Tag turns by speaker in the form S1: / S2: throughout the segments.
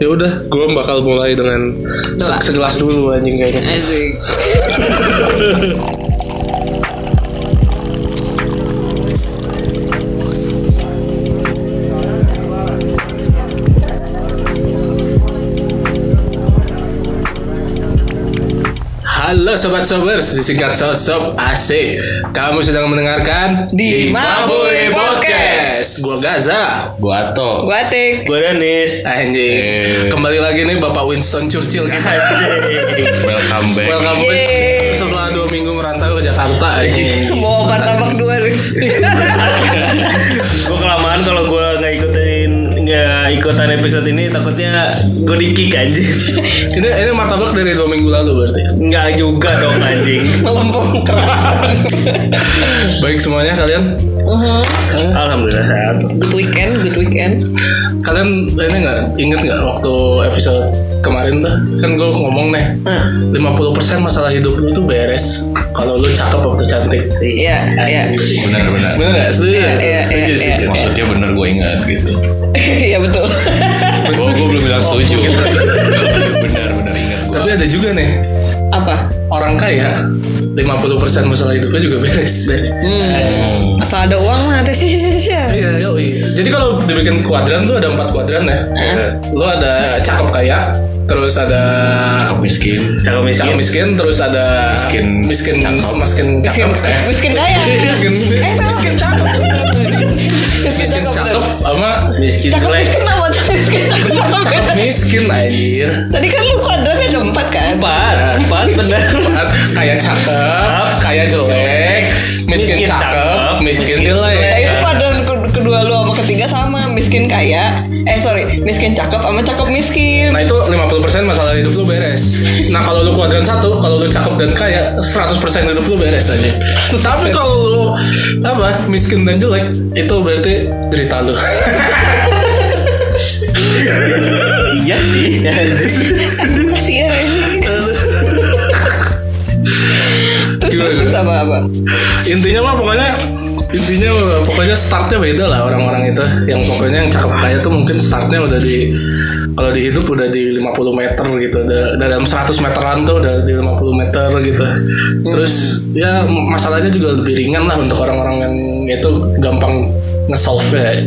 S1: ya udah gue bakal mulai dengan se-
S2: Doa.
S1: segelas dulu anjing kayaknya
S2: Asik.
S1: Halo sobat sobers, disingkat sosok asik. Kamu sedang mendengarkan
S2: Di Maboy Podcast.
S1: Gua Gaza,
S3: Gua Ato.
S2: Gua tik.
S4: Gue Danis
S1: anjing.
S3: Eh.
S1: Kembali lagi nih Bapak Winston Churchill kita.
S3: Welcome back.
S1: Welcome back.
S2: Yeay.
S1: Setelah dua minggu merantau ke Jakarta, anjing.
S2: Mau martabak dua nih.
S4: Gue kelamaan kalau gue nggak ikutin nggak ikutan episode ini takutnya gue di kick anjing
S1: Ini ini martabak dari dua minggu lalu berarti.
S4: Nggak juga dong anjing
S2: Melempung keras.
S1: Baik semuanya kalian,
S2: Mhm.
S4: Alhamdulillah sehat
S2: Good weekend, good weekend.
S1: kalian ini nggak inget nggak waktu episode kemarin tuh kan gue ngomong nih
S2: Nah,
S1: 50% masalah hidup lu tuh beres kalau lu cakep waktu cantik.
S2: Iya, iya.
S3: Benar-benar.
S1: Bener nggak? Setuju.
S2: Iya, iya,
S1: Setuju,
S2: iya,
S1: setuju.
S2: iya.
S3: Maksudnya bener gue ingat gitu.
S2: Iya betul.
S3: Gue gue Oh, belum bilang setuju. Benar-benar ingat gue.
S1: Tapi ada juga nih
S2: Apa?
S1: orang kaya 50% masalah hidupnya juga beres.
S2: Hmm. Asal ada uang mah nanti sih sih sih. sih.
S1: Iya, yoi. Jadi kalau dibikin kuadran tuh ada empat kuadran ya. Lu ada cakep kaya, terus ada
S3: Cakep miskin.
S4: Cakep
S1: cakep
S4: miskin
S1: miskin, terus ada
S3: Miskin
S1: miskin
S3: cakep.
S1: miskin
S2: Miskin,
S1: cakep. eh.
S2: miskin kaya.
S1: Miskin,
S2: Eh, salah.
S1: miskin cakep.
S2: Miskin
S1: Miskin
S2: cakep.
S1: cakep
S2: bener.
S1: sama
S4: Miskin
S2: Cakep
S4: jelek
S2: miskin apa? Cakep miskin cakep apa?
S1: cakep miskin anjir.
S2: Tadi kan lu kuadrannya ada empat kan?
S4: Empat Empat bener
S1: Kayak cakep, kayak jelek, miskin
S4: Miskin
S1: cakep,
S4: cakep,
S1: miskin
S4: miskin
S2: Nah
S1: jelek.
S2: itu kuadran ke- kedua lu sama ketiga sama miskin kaya. Eh sorry, miskin cakep sama cakep miskin.
S1: Nah itu 50% masalah hidup lu beres Nah kalau lu kuadran satu Kalau lu cakep dan kaya 100% hidup lu beres aja Tapi kalau lu apa, Miskin dan jelek Itu berarti derita lu
S4: Iya sih
S2: Aduh kasihan
S1: iya,
S2: ini. Terus
S1: Gimana?
S2: terus, terus apa apa?
S1: Intinya mah pokoknya Intinya mah, pokoknya startnya beda lah orang-orang itu Yang pokoknya yang cakep kaya tuh mungkin startnya udah di Kalau di hidup udah di 50 meter gitu Da- Dalam 100 meteran tuh udah di 50 meter gitu
S2: Hmm.
S1: Terus ya masalahnya juga lebih ringan lah Untuk orang-orang yang itu gampang nge-solve ya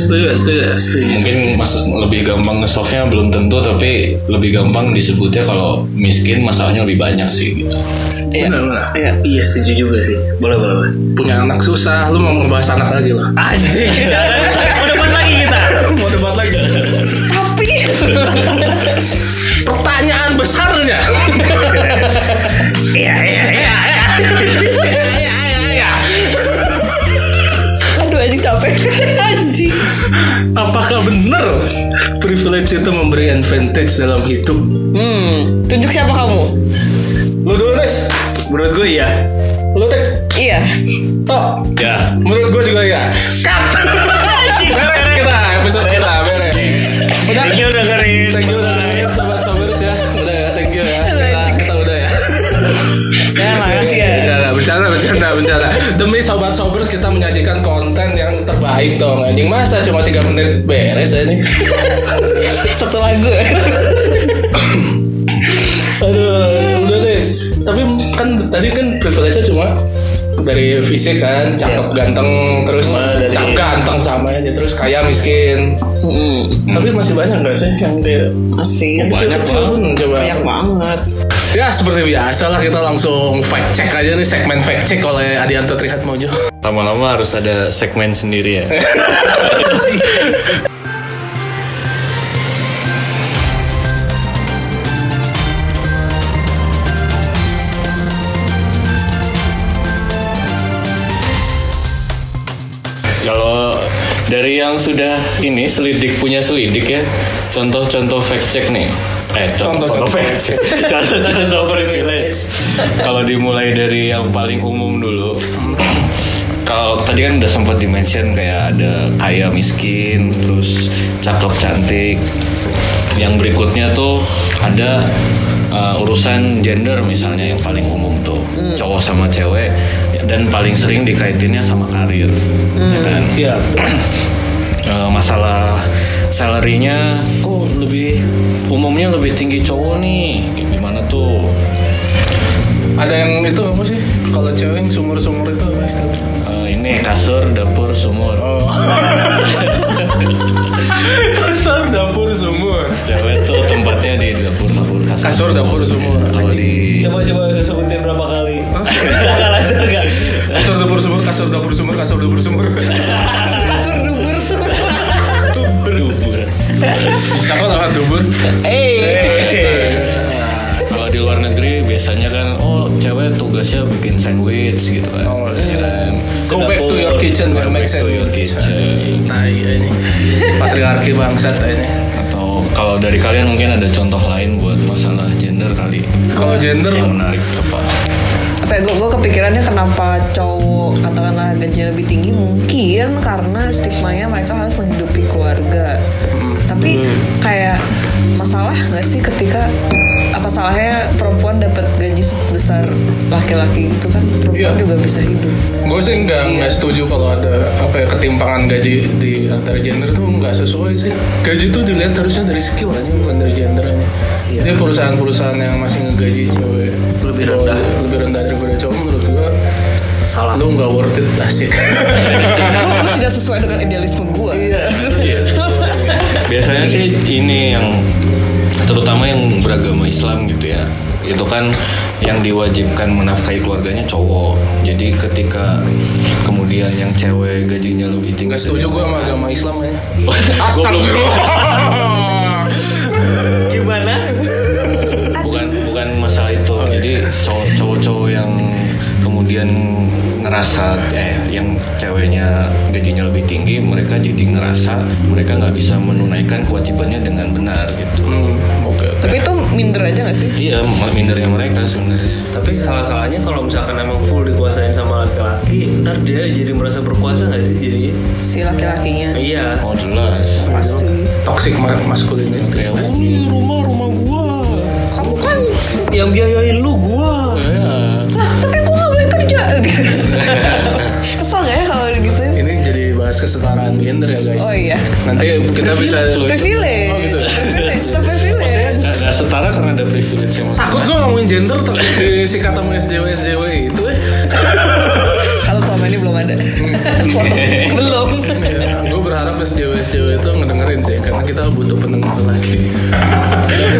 S1: Setuju, setuju, setuju.
S3: Mungkin mas lebih gampang nge-solve-nya belum tentu tapi lebih gampang disebutnya kalau miskin masalahnya lebih banyak sih gitu.
S2: Iya.
S1: Bener, bener.
S2: Iya.
S4: Iya setuju juga sih Boleh boleh boleh
S1: Punya anak susah, lu mau ngebahas anak lagi loh.
S4: Anjing Mau debat lagi kita
S1: Mau debat lagi.
S2: Tapi
S1: Pertanyaan besarnya.
S4: Iya iya iya
S2: aduh anjing capek. anjing.
S1: Apakah benar privilege itu memberi advantage dalam hidup?
S2: Hmm, tunjuk siapa kamu?
S1: Lu dulu, Nes.
S4: Menurut gue iya
S1: Lu tek.
S2: Iya.
S1: Tok.
S3: Ya.
S1: Menurut gua juga ya. Cut. beres kita episode kita beres. Udah.
S4: Thank you dengerin
S1: Thank you udah dengerin, sobat-sobat ya. Udah ya, thank you ya. Kita, kita udah ya.
S2: Ya makasih ya.
S1: Enggak, enggak, bercanda, bercanda, bercanda. Demi sobat sobers kita menyajikan konten yang terbaik dong anjing. Masa cuma 3 menit beres ini.
S2: Satu lagu.
S1: Aduh, udah deh. Tapi kan tadi kan privilege-nya cuma dari fisik kan, cakep ganteng terus
S4: Cuma dari-
S1: cakep ganteng sama aja terus kaya miskin.
S2: Hmm,
S1: Tapi masih banyak nggak sih yang dia
S2: masih
S3: Banyak,
S1: kecil-kecil
S3: Bang.
S1: pun Oh, coba.
S2: banyak banget.
S1: Ya seperti biasa lah kita langsung fact check aja nih segmen fact check oleh Adianto Trihatmojo.
S3: Lama-lama harus ada segmen sendiri ya. Kalau dari yang sudah ini selidik punya selidik ya. Contoh-contoh fact check nih. Eh, contoh,
S1: Contoh-contoh
S3: contoh fact check. Contoh-contoh privilege. Kalau dimulai dari yang paling umum dulu. Kalau tadi kan udah sempat dimention kayak ada kaya miskin, terus cakep cantik. Yang berikutnya tuh ada uh, urusan gender misalnya yang paling umum tuh cowok sama cewek dan paling sering dikaitinnya sama karir, ya kan?
S4: Iya
S3: eh, masalah salarynya kok lebih umumnya lebih tinggi cowok nih Kayak gimana tuh
S1: Ada yang itu apa sih? Kalau cewek yang sumur-sumur itu apa istilahnya?
S3: Eh, ini kasur dapur sumur
S1: Oh. Kasur dapur sumur.
S3: cewek tuh tempatnya di dapur dapur kasur
S1: Kasur, dapur, sumur.
S3: kalau di
S4: Coba coba sebutin berapa kali. Enggak lancar enggak.
S1: Kasur dapur sumur, kasur dapur sumur, kasur dapur sumur.
S2: Kasur dubur semua.
S3: dubur
S1: Siapa lawan dubur?
S2: Eh,
S3: Nah, kalau di luar negeri biasanya kan oh cewek tugasnya bikin sandwich gitu kan
S1: Oh, iya.
S3: Kan.
S1: Go back to your kitchen,
S3: Go
S1: your
S3: back
S1: make
S3: to your
S1: sandwich.
S3: kitchen.
S1: Nah, iya ini. Patriarki bangsat ini.
S3: atau kalau dari kalian mungkin ada contoh lain buat masalah gender kali
S1: Kalau gender
S3: yang menarik apa
S2: apa ya, gue kepikirannya kenapa cowok katakanlah gajinya lebih tinggi mungkin karena stigmanya mereka harus menghidupi keluarga
S1: Hmm.
S2: tapi kayak masalah nggak sih ketika apa salahnya perempuan dapat gaji sebesar laki-laki gitu kan perempuan
S1: Iya.
S2: juga bisa hidup
S1: Gue sih nggak nggak
S4: Iya.
S1: setuju kalau ada apa ya ketimpangan gaji di antara gender tuh nggak sesuai sih. Gaji tuh dilihat harusnya dari skill aja bukan dari gender aja. Jadi perusahaan-perusahaan yang masih ngegaji cewek
S4: Iya. Lebih rendah.
S1: lebih rendah daripada cowok menurut gue
S4: Salah.
S1: lu nggak worth it asik.
S2: Lu- lu tidak sesuai dengan idealisme gue
S3: biasanya sih ini yang terutama yang beragama Islam gitu ya itu kan yang diwajibkan menafkahi keluarganya cowok jadi ketika kemudian yang cewek gajinya lebih tinggi
S1: Nggak setuju gue sama agama Islam aja.
S3: Gua belum-
S4: Gimana?
S3: bukan bukan masalah itu
S1: Oh, iya,
S3: jadi cowok- cowok-cowok yang kemudian ngerasa eh yang ceweknya gajinya lebih tinggi mereka jadi ngerasa mereka nggak bisa menunaikan kewajibannya dengan benar gitu
S1: Hmm, oke.
S2: tapi itu minder aja nggak sih
S3: iya mindernya mereka sebenarnya
S4: Tapi salah-salahnya kalau misalkan emang full dikuasain sama laki-laki, ntar dia jadi merasa berkuasa nggak sih jadinya?
S2: si laki-lakinya
S4: Iya.
S3: oh jelas
S2: pasti
S1: Toxic ma maskulin ya.
S3: kayak oh ini rumah rumah gua
S2: kamu kan
S4: Yang biayain lu gua.
S2: lah tapi gue nggak boleh kerja kesel gak ya kalau gitu
S1: Ini jadi bahas kesetaraan gender ya guys.
S2: oh iya
S1: Nanti kita bisa
S2: privilege
S1: Oh, gitu.
S2: privilege itu privilege
S3: maksudnya nggak nggak setara karena ada privilege yang
S1: Takut gue ngomongin gender takut disikat sama SJW SJW itu.
S2: kalau selama ini belum ada belum
S1: gue berharap SJW SJW itu ngedengerin sih karena kita butuh pendengar lagi.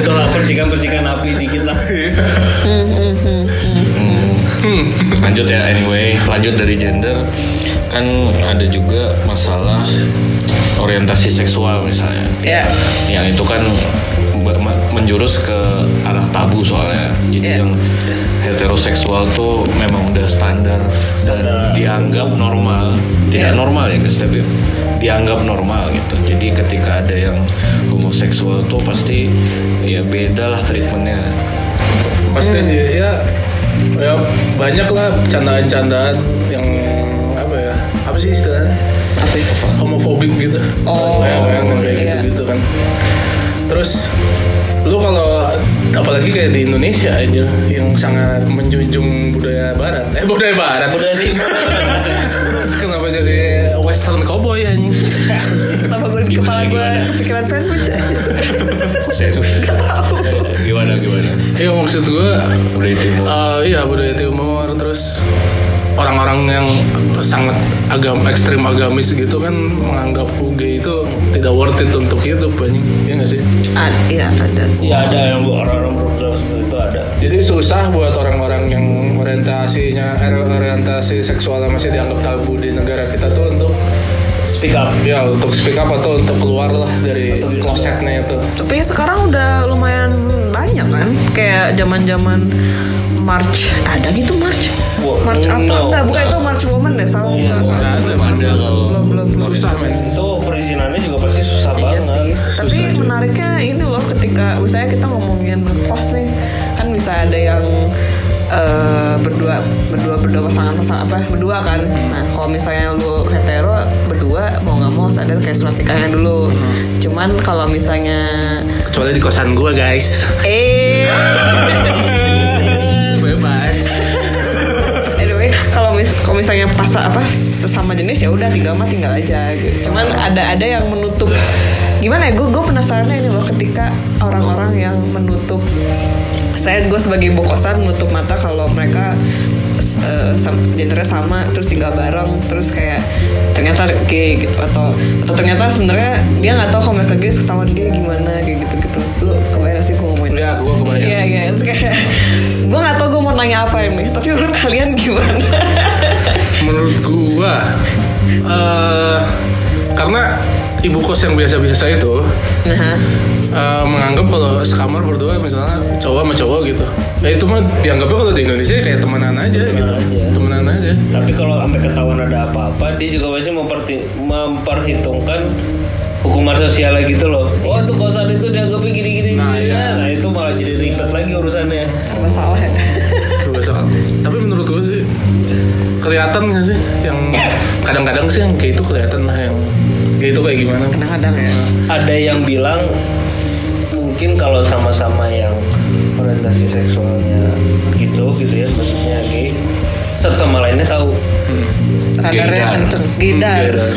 S4: Tolak percikan-percikan api dikit lah.
S3: Hmm. lanjut ya anyway lanjut dari gender kan ada juga masalah orientasi seksual misalnya
S2: ya
S3: yang itu kan ba- ma- menjurus ke arah tabu soalnya jadi
S2: Iya.
S3: yang heteroseksual tuh memang udah standar dan dianggap normal tidak normal ya guys tapi dianggap normal gitu jadi ketika ada yang homoseksual tuh pasti ya beda lah treatmentnya
S1: Pasti
S2: Hmm.
S1: dia ya, ya banyak lah candaan-candaan yang apa ya apa sih istilahnya
S2: tapi
S1: homofobik gitu.
S2: Oh,
S1: kayak kayak- kayak
S2: iya.
S1: gitu gitu kan. Terus lu kalau apalagi kayak di Indonesia aja yang sangat menjunjung budaya barat. Eh budaya barat. Budaya Kenapa jadi western cowboy anjing?
S2: kenapa gue di kepala gue
S3: gimana?
S2: kepikiran sandwich
S3: gimana gimana
S1: Iya maksud gua
S3: budaya timur
S1: Eh, iya budaya timur terus orang-orang yang sangat agam ekstrim agamis gitu kan menganggap UG itu tidak worth it untuk hidup anjing ya nggak sih
S2: ada iya ada
S4: Iya ada yang orang-orang berprogram seperti itu ada.
S1: jadi susah buat orang-orang yang orientasinya er, orientasi seksualnya masih dianggap tabu di negara kita tuh untuk
S4: Speak up.
S1: ya untuk speak up atau untuk keluar lah dari
S4: Atau di-
S1: klosetnya itu
S2: tapi sekarang udah lumayan banyak kan kayak zaman zaman March ada gitu March
S4: Wo-
S2: March apa
S4: no.
S2: enggak bukan itu March Woman deh salah salah.
S1: Nggak ada,
S3: belum ada kalau
S2: belum belum belum
S1: susah men
S4: Itu perizinannya juga pasti susah
S2: Iya
S4: banget.
S2: sih. Tapi menariknya ini loh ketika misalnya kita ngomongin kos nih, kan bisa ada yang eh, berdua berdua berdua pasangan pasangan apa berdua kan. Nah kalau misalnya lu hetero berdua mau nggak mau harus ada kayak surat nikahnya dulu. Cuman kalau misalnya
S1: kecuali di kosan gua guys
S2: eh
S1: bebas
S2: anyway kalau mis kalau misalnya pas apa sesama jenis ya udah tinggal mah tinggal aja gitu. Cuman ada ada yang menutup gimana ya gue gue penasarannya ini loh ketika orang-orang yang menutup saya gue sebagai bokosan menutup mata kalau mereka s- eh, sam- gendernya sama terus tinggal bareng terus kayak ternyata gay gitu atau atau ternyata sebenarnya dia nggak tahu kalau mereka gay ketahuan gay gimana kayak gitu gitu lu kebayang sih gue ngomongin
S1: Iya, gue kebayang.
S2: Iya, iya. Terus kayak gue nggak tau gue mau nanya apa ini. Tapi menurut kalian gimana?
S1: menurut gua eh karena ibu kos yang biasa-biasa itu
S2: Nah,
S1: eh, menganggap kalau sekamar berdua misalnya cowok sama cowok gitu ya itu mah dianggapnya kalau di Indonesia kayak temenan aja gitu
S4: aja.
S1: temenan aja
S4: Tapi kalau sampai ketahuan ada apa-apa, dia juga pasti memperti- memperhitungkan hukuman sosialnya gitu loh.
S2: Iya
S4: Oh tuh kosan itu dianggapnya gini-gini.
S1: Nah,
S4: gini.
S1: iya.
S4: nah itu malah jadi ribet lagi urusannya.
S2: serba salah ya.
S1: Serba salah. tapi menurut gua sih kelihatan nggak sih yang kadang-kadang sih yang kayak itu kelihatan lah yang kayak itu kayak gimana
S2: Kadang-kadang ya.
S4: Ada yang bilang mungkin kalau sama-sama yang orientasi seksualnya gitu gitu ya maksudnya gay satu sama lainnya tahu
S1: Hmm.
S2: Radarnya
S3: Gaydar.
S2: kenceng. Gaydar.
S1: Hmm, gaydar.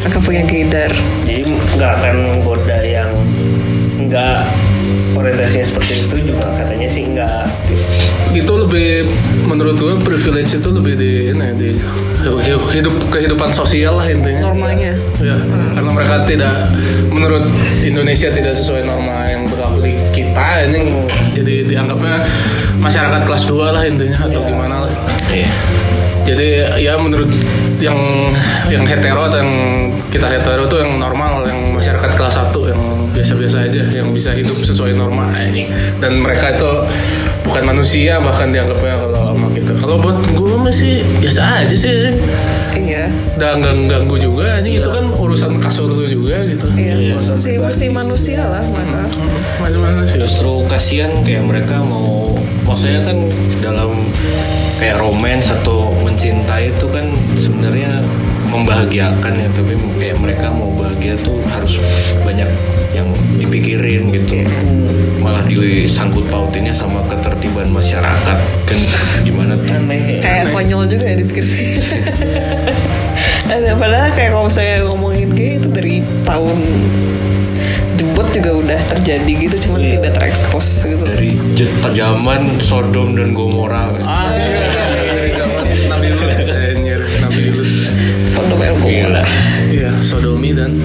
S2: Mereka punya gaydar.
S4: jadi nggak akan goda yang nggak orientasinya seperti itu juga katanya sih nggak
S1: itu lebih menurut gua privilege itu lebih di ini di hidup kehidupan sosial lah intinya
S2: Normanya.
S1: Ya, karena mereka tidak menurut Indonesia tidak sesuai norma yang berlaku di kita ini jadi dianggapnya masyarakat kelas 2 lah intinya atau gimana lah.
S3: Iya.
S1: Jadi ya menurut yang yang hetero atau yang kita hetero tuh yang normal, yang masyarakat kelas 1 yang biasa-biasa aja, yang bisa hidup sesuai norma Dan mereka itu bukan manusia bahkan dianggapnya kalau sama kita. Kalau buat gue masih biasa aja sih
S2: Iya.
S1: dan gang- ganggu juga anjing itu kan
S3: Iya.
S1: urusan kasur lu juga gitu
S2: Iya. Si, si manusia lah mereka.
S1: mana-mana sih
S3: Justru kasihan kayak mereka mau maksudnya kan dalam kayak romance atau mencintai itu kan sebenarnya membahagiakan ya tapi kayak mereka mau bahagia tuh harus banyak yang dipikirin gitu malah disangkut pautinnya sama ketertiban masyarakat kan gimana tuh
S4: aneh ya.
S2: Kayak konyol juga ya dipikir. Ada padahal kayak kalau saya ngomongin gay itu dari tahun jebot juga udah terjadi gitu cuman
S4: Iya.
S2: tidak terekspos gitu.
S3: dari jet zaman Sodom dan Gomora kan.
S1: ah iya dari zaman Nabi Lut anjir Nabi Lut
S2: Sodom and Gomora.
S3: Gila.
S1: iya sodomi dan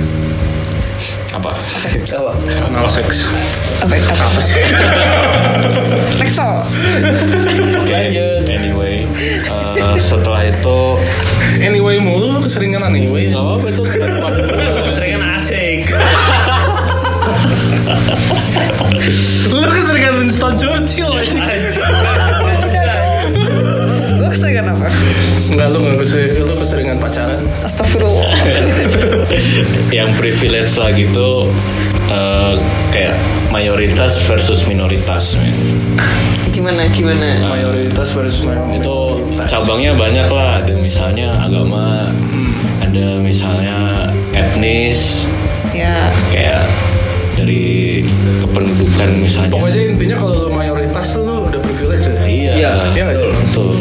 S3: apa
S4: Apa?
S1: anal seks
S2: apa apa sih Rexo
S4: lanjut
S3: anyway eh, setelah itu
S1: anyway mulu keseringan anyway
S3: nggak apa-apa itu
S4: seringan kan asik
S1: lu keseringan Winston Churchill
S2: gue keseringan kan, apa
S1: enggak lu nggak keseringan lu keseringan pacaran
S2: Astagfirullah
S3: yang privilege lah gitu eh, kayak mayoritas versus minoritas men.
S2: gimana
S3: Nah.
S2: gimana
S1: mayoritas versus mayoritas
S3: itu cabangnya banyak lah ada misalnya agama ada misalnya etnis
S2: ya
S3: kayak dari kependudukan misalnya
S1: pokoknya intinya kalau lu mayoritas tuh lu udah privilege ya
S3: iya
S4: Iya,
S1: iya nggak sih?
S3: betul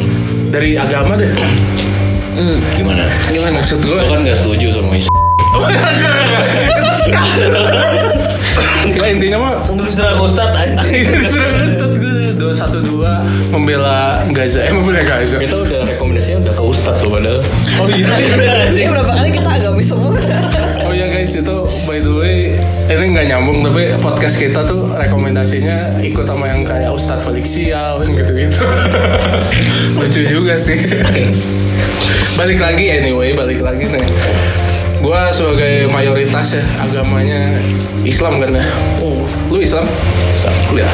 S1: dari agama deh
S3: gimana
S1: gimana maksud gue
S3: lo kan nggak setuju sama is
S1: Enggak, intinya mah
S4: untuk diserang ustad anjing
S1: Serang Ustadz gue dua satu dua membela Gaza, eh membela Gaza.
S3: kita udah rekomendasinya udah ke ustadz loh padahal
S1: Oh iya,
S2: ini berapa kali kita agamis semua
S1: oh iya guys itu by the way ini nggak nyambung tapi podcast kita tuh rekomendasinya ikut sama yang kayak Ustadz Felix Sial gitu-gitu. Lucu juga sih. balik lagi anyway, balik lagi nih. Gua sebagai mayoritas ya agamanya Islam kan ya. Lu Islam? Ya.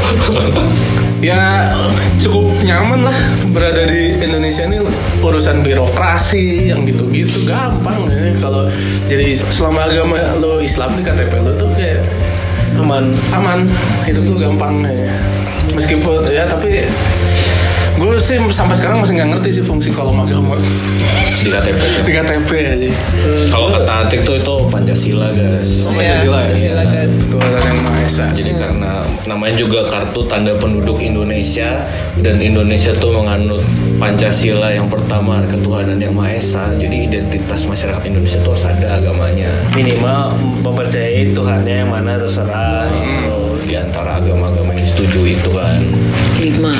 S1: ya cukup nyaman lah berada di Indonesia ini urusan birokrasi yang gitu-gitu gampang ya. kalau jadi is- selama agama lo Islam di KTP lo tuh kayak
S4: aman
S1: aman hidup tuh gampang ya. meskipun ya tapi gue sih sampai sekarang masih nggak ngerti sih fungsi kolom agama
S3: di KTP
S1: di KTP aja
S3: kalau kata Atik tuh itu Pancasila guys
S2: Oh,
S1: Pancasila ya?
S2: Pancasila guys
S1: Tuhan yang Maha Esa
S3: jadi karena namanya juga kartu tanda penduduk Indonesia dan Indonesia tuh menganut Pancasila yang pertama ketuhanan yang maha esa jadi identitas masyarakat Indonesia tuh harus ada agamanya
S4: minimal mempercayai Tuhannya yang mana terserah gitu.
S2: Hmm.
S3: di antara agama-agama yang disetujui itu kan
S2: lima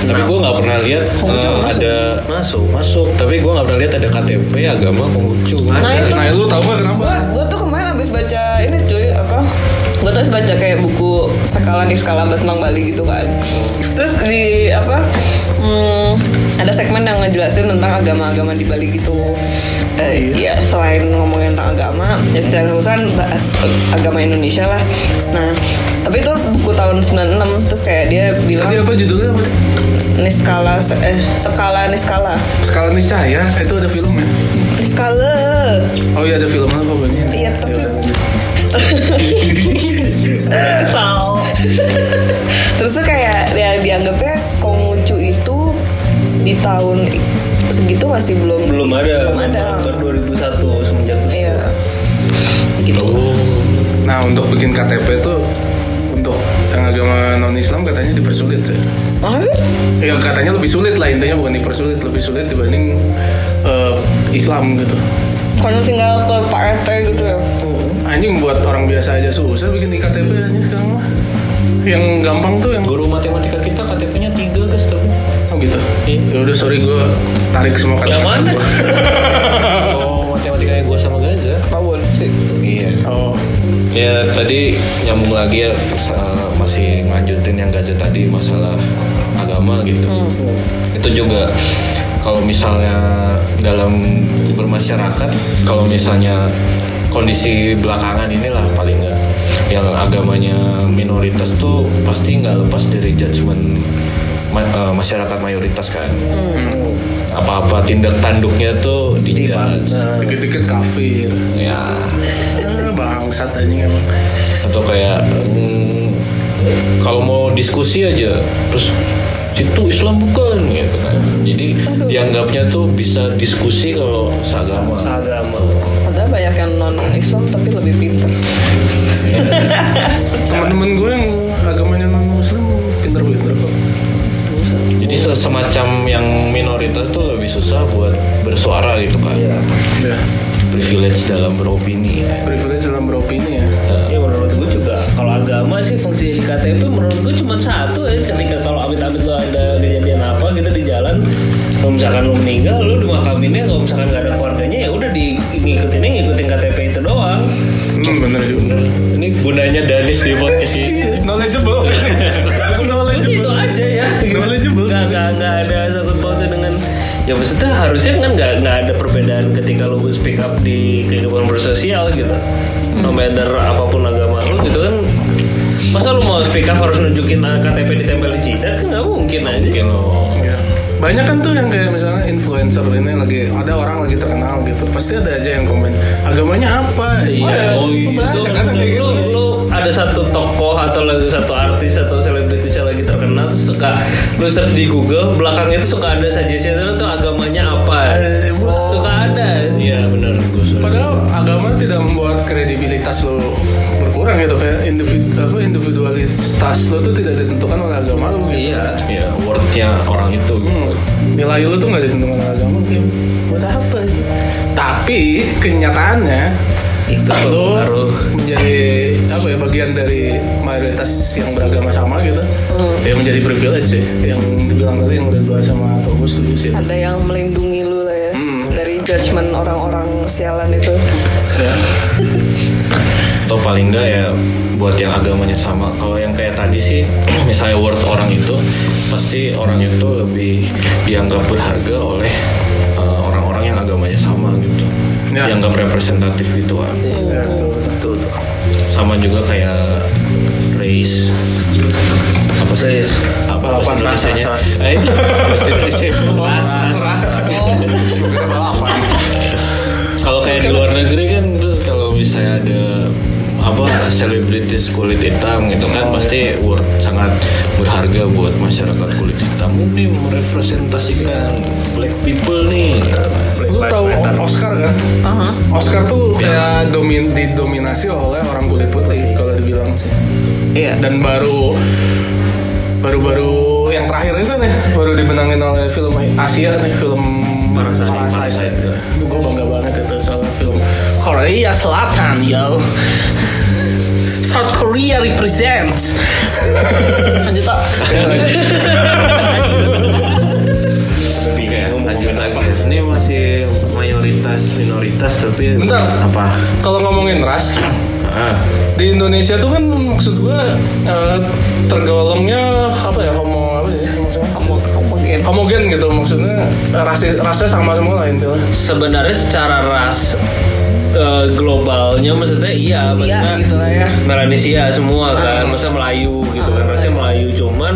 S3: tapi gue nggak pernah lihat
S2: Konghucu
S3: eh,
S2: masuk.
S3: ada
S4: masuk
S3: masuk tapi gue nggak pernah lihat ada KTP agama Konghucu
S2: nah itu
S1: Nah, lu tahu gak kenapa?
S2: gua gua tuh kemarin habis baca ini cuy apa gua tuh habis baca kayak buku skala di skala tentang Bali gitu kan terus di apa hmm, ada segmen yang ngejelasin tentang agama-agama di Bali gitu Eh, iya. selain ngomongin tentang agama ya secara khusus kan ba- agama Indonesia lah nah tapi itu buku tahun 96 terus kayak dia bilang
S1: Tadi apa judulnya apa?
S2: niskala se- eh skala niskala
S1: Skala Niscaya, itu ada filmnya.
S2: niskala
S1: Oh iya iya. ada film apa banyak?
S2: Iya, tapi- Sal. Terus tuh kayak ya dianggapnya Konghucu itu di tahun segitu masih belum
S4: belum ada
S2: belum ada.
S4: per 2001 semenjak itu.
S2: Iya. Gitu.
S1: Nah untuk bikin KTP tuh untuk yang agama non Islam katanya dipersulit sih.
S2: Ah,
S1: Ya katanya lebih sulit lah intinya bukan dipersulit lebih sulit dibanding eh, Islam gitu.
S2: Kalau tinggal ke Pak RT gitu ya.
S1: Anjing buat orang biasa aja susah bikin KTP anjing sekarang mah. Yang gampang tuh yang
S3: guru matematika kita KTP-nya tiga guys tapi
S1: oh, gitu. Ya udah sorry gue tarik semua KTP.
S4: Iya. Yang mana?
S1: gua.
S3: oh matematikanya gue sama Gaza
S2: Pawon sih.
S3: iya
S1: Oh
S3: Ya tadi nyambung lagi ya terus, uh, masih lanjutin yang Gaza tadi masalah agama gitu. Itu juga kalau misalnya dalam bermasyarakat, kalau misalnya kondisi belakangan inilah paling nggak yang agamanya minoritas tuh pasti nggak lepas dari judgement ma- uh, masyarakat mayoritas kan. Apa-apa tindak tanduknya tuh dijudge.
S4: Nah,
S1: dikit-dikit kafir.
S3: Ya.
S1: Eh, Bangsat anjing emang.
S3: atau kayak mm, kalau mau diskusi aja terus itu Islam bukan gitu kan jadi dianggapnya tuh bisa diskusi kalau seagama
S4: agama
S2: Padahal banyak yang non Islam tapi lebih pinter.
S1: Temen-temen gue yang agamanya non Muslim pinter-pinter kok.
S3: jadi se- semacam yang minoritas tuh lebih susah buat bersuara gitu kan
S1: Ya.
S3: privilege dalam beropini
S1: Privilege dalam beropini ya.
S4: ya menurut gue juga kalau agama sih fungsi KTP menurut gue cuma satu ya ketika kalau amit-amit lo ada kejadian apa gitu di jalan kalau misalkan lo meninggal lo dimakaminnya kalau misalkan gak ada keluarganya ya udah di ngikutinnya ngikutin KTP itu doang
S1: Hmm, bener juga.
S3: bener ini gunanya Danis di podcast ini
S1: Knowledgeable.
S4: Menurut gue sih itu aja ya knowledgeable nggak nggak nggak ada satu pautnya dengan ya maksudnya harusnya kan nggak nggak ada perbedaan ketika lo speak up di kehidupan bersosial gitu no matter apapun agama lo gitu kan masa lo mau speak up harus nunjukin ah, KTP ditempel di jidat kan nggak mungkin aja
S3: mungkin lo
S1: Iya. Banyak kan tuh yang kayak misalnya influencer ini lagi ada orang lagi terkenal gitu. Pasti ada aja yang komen agamanya apa.
S4: Iya,
S1: Oh,
S4: itu
S1: iya. Ada kan
S4: kan
S1: kayak
S4: lu,
S1: gitu.
S4: lu ada satu tokoh atau lagi satu artis atau selebritis yang lagi terkenal terus suka lu search di Google belakangnya tuh suka ada suggestion itu tuh agamanya apa suka ada
S3: iya bener gue suka
S1: Padahal agama tidak membuat kredibilitas lo berkurang gitu kayak individu apa individualitas lo tuh tidak ditentukan oleh agama lo gitu.
S4: iya
S3: ya wordnya orang itu gitu.
S1: Hmm, nilai lo tuh nggak ditentukan oleh agama gitu. buat apa sih? Tapi kenyataannya
S4: itu
S1: lo
S4: pengaruh
S1: menjadi apa ya bagian dari mayoritas yang beragama sama gitu ya menjadi privilege sih yang dibilang tadi yang udah dibahas sama Togus setuju sih
S2: Ada yang melindungi lu lah ya
S1: Hmm.
S2: dari judgement orang-orang sialan itu.
S1: ya.
S3: atau paling enggak ya buat yang agamanya sama kalau yang kayak tadi sih misalnya word orang itu pasti orang itu lebih dianggap berharga oleh eh, orang-orang yang agamanya sama gitu
S1: Ya.
S3: dianggap representatif gitu kan
S1: Ya, betul, betul.
S4: itu tuh
S3: sama juga kayak race apa sih
S4: Race.
S3: apa
S1: Balapan
S3: bahasa
S1: ras, ras,
S3: Indonesianya eh bahasa Indonesia ras ras kalau kayak di luar negeri kan terus kalau misalnya ada apa selebritis kulit hitam gitu kan pasti word sangat berharga buat masyarakat kulit hitam ini merepresentasikan black people nih gitu kan.
S1: lu tahu Oscar kan Oscar tuh kayak domin didominasi oleh orang kulit putih kalau dibilang paling sih
S2: Iya.
S1: dan baru baru-baru yang terakhir itu nih baru dibenangin oleh film Asia nih film
S4: Parasite.
S1: Parasite. Gue bangga banget itu soal film Korea Selatan yo. South Korea represents. Lanjut tak?
S3: Tapi kayak lanjut apa? Ini masih mayoritas minoritas tapi
S1: Bentar.
S3: apa?
S1: Kalau ngomongin ras
S3: Ah,
S1: di Indonesia tuh kan maksud gue eh, tergolongnya apa ya homo apa ya maksudnya?
S2: kamu kamu gitu
S1: homogen gitu maksudnya rasis rasnya sama semua lah intinya.
S4: Sebenarnya secara ras eh, globalnya maksudnya iya
S2: Sia
S4: maksudnya
S2: gitu lah ya. Ah.
S4: Melanesia semua kan, masa Melayu gitu kan, rasanya Melayu cuman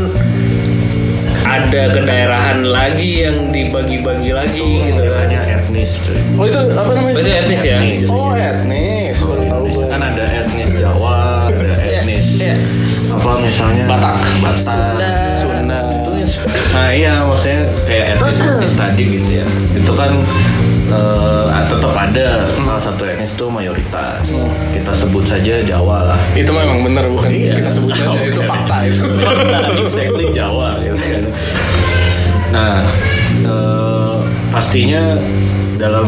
S4: ada kedaerahan lagi yang dibagi-bagi lagi gitu kan.
S3: istilahnya etnis tuh.
S1: Oh itu apa namanya?
S4: Berarti etnis ya?
S3: Etnis.
S1: Oh etnis, baru tahu
S3: Etnis.
S1: gue.
S3: Kan ada etnis Jawa, ada etnis
S2: iya.
S3: apa misalnya
S1: Batak.
S3: Batak.
S1: Sunda.
S3: Nah iya maksudnya kayak etnis etnis tadi gitu ya. Itu kan eh, tetap ada salah satu etnis itu mayoritas.
S2: Hmm.
S3: Kita sebut saja Jawa lah.
S1: Itu memang benar bukan
S2: Iya.
S1: kita sebut aja itu fakta itu.
S3: exactly Jawa gitu kan. Nah, eh, pastinya dalam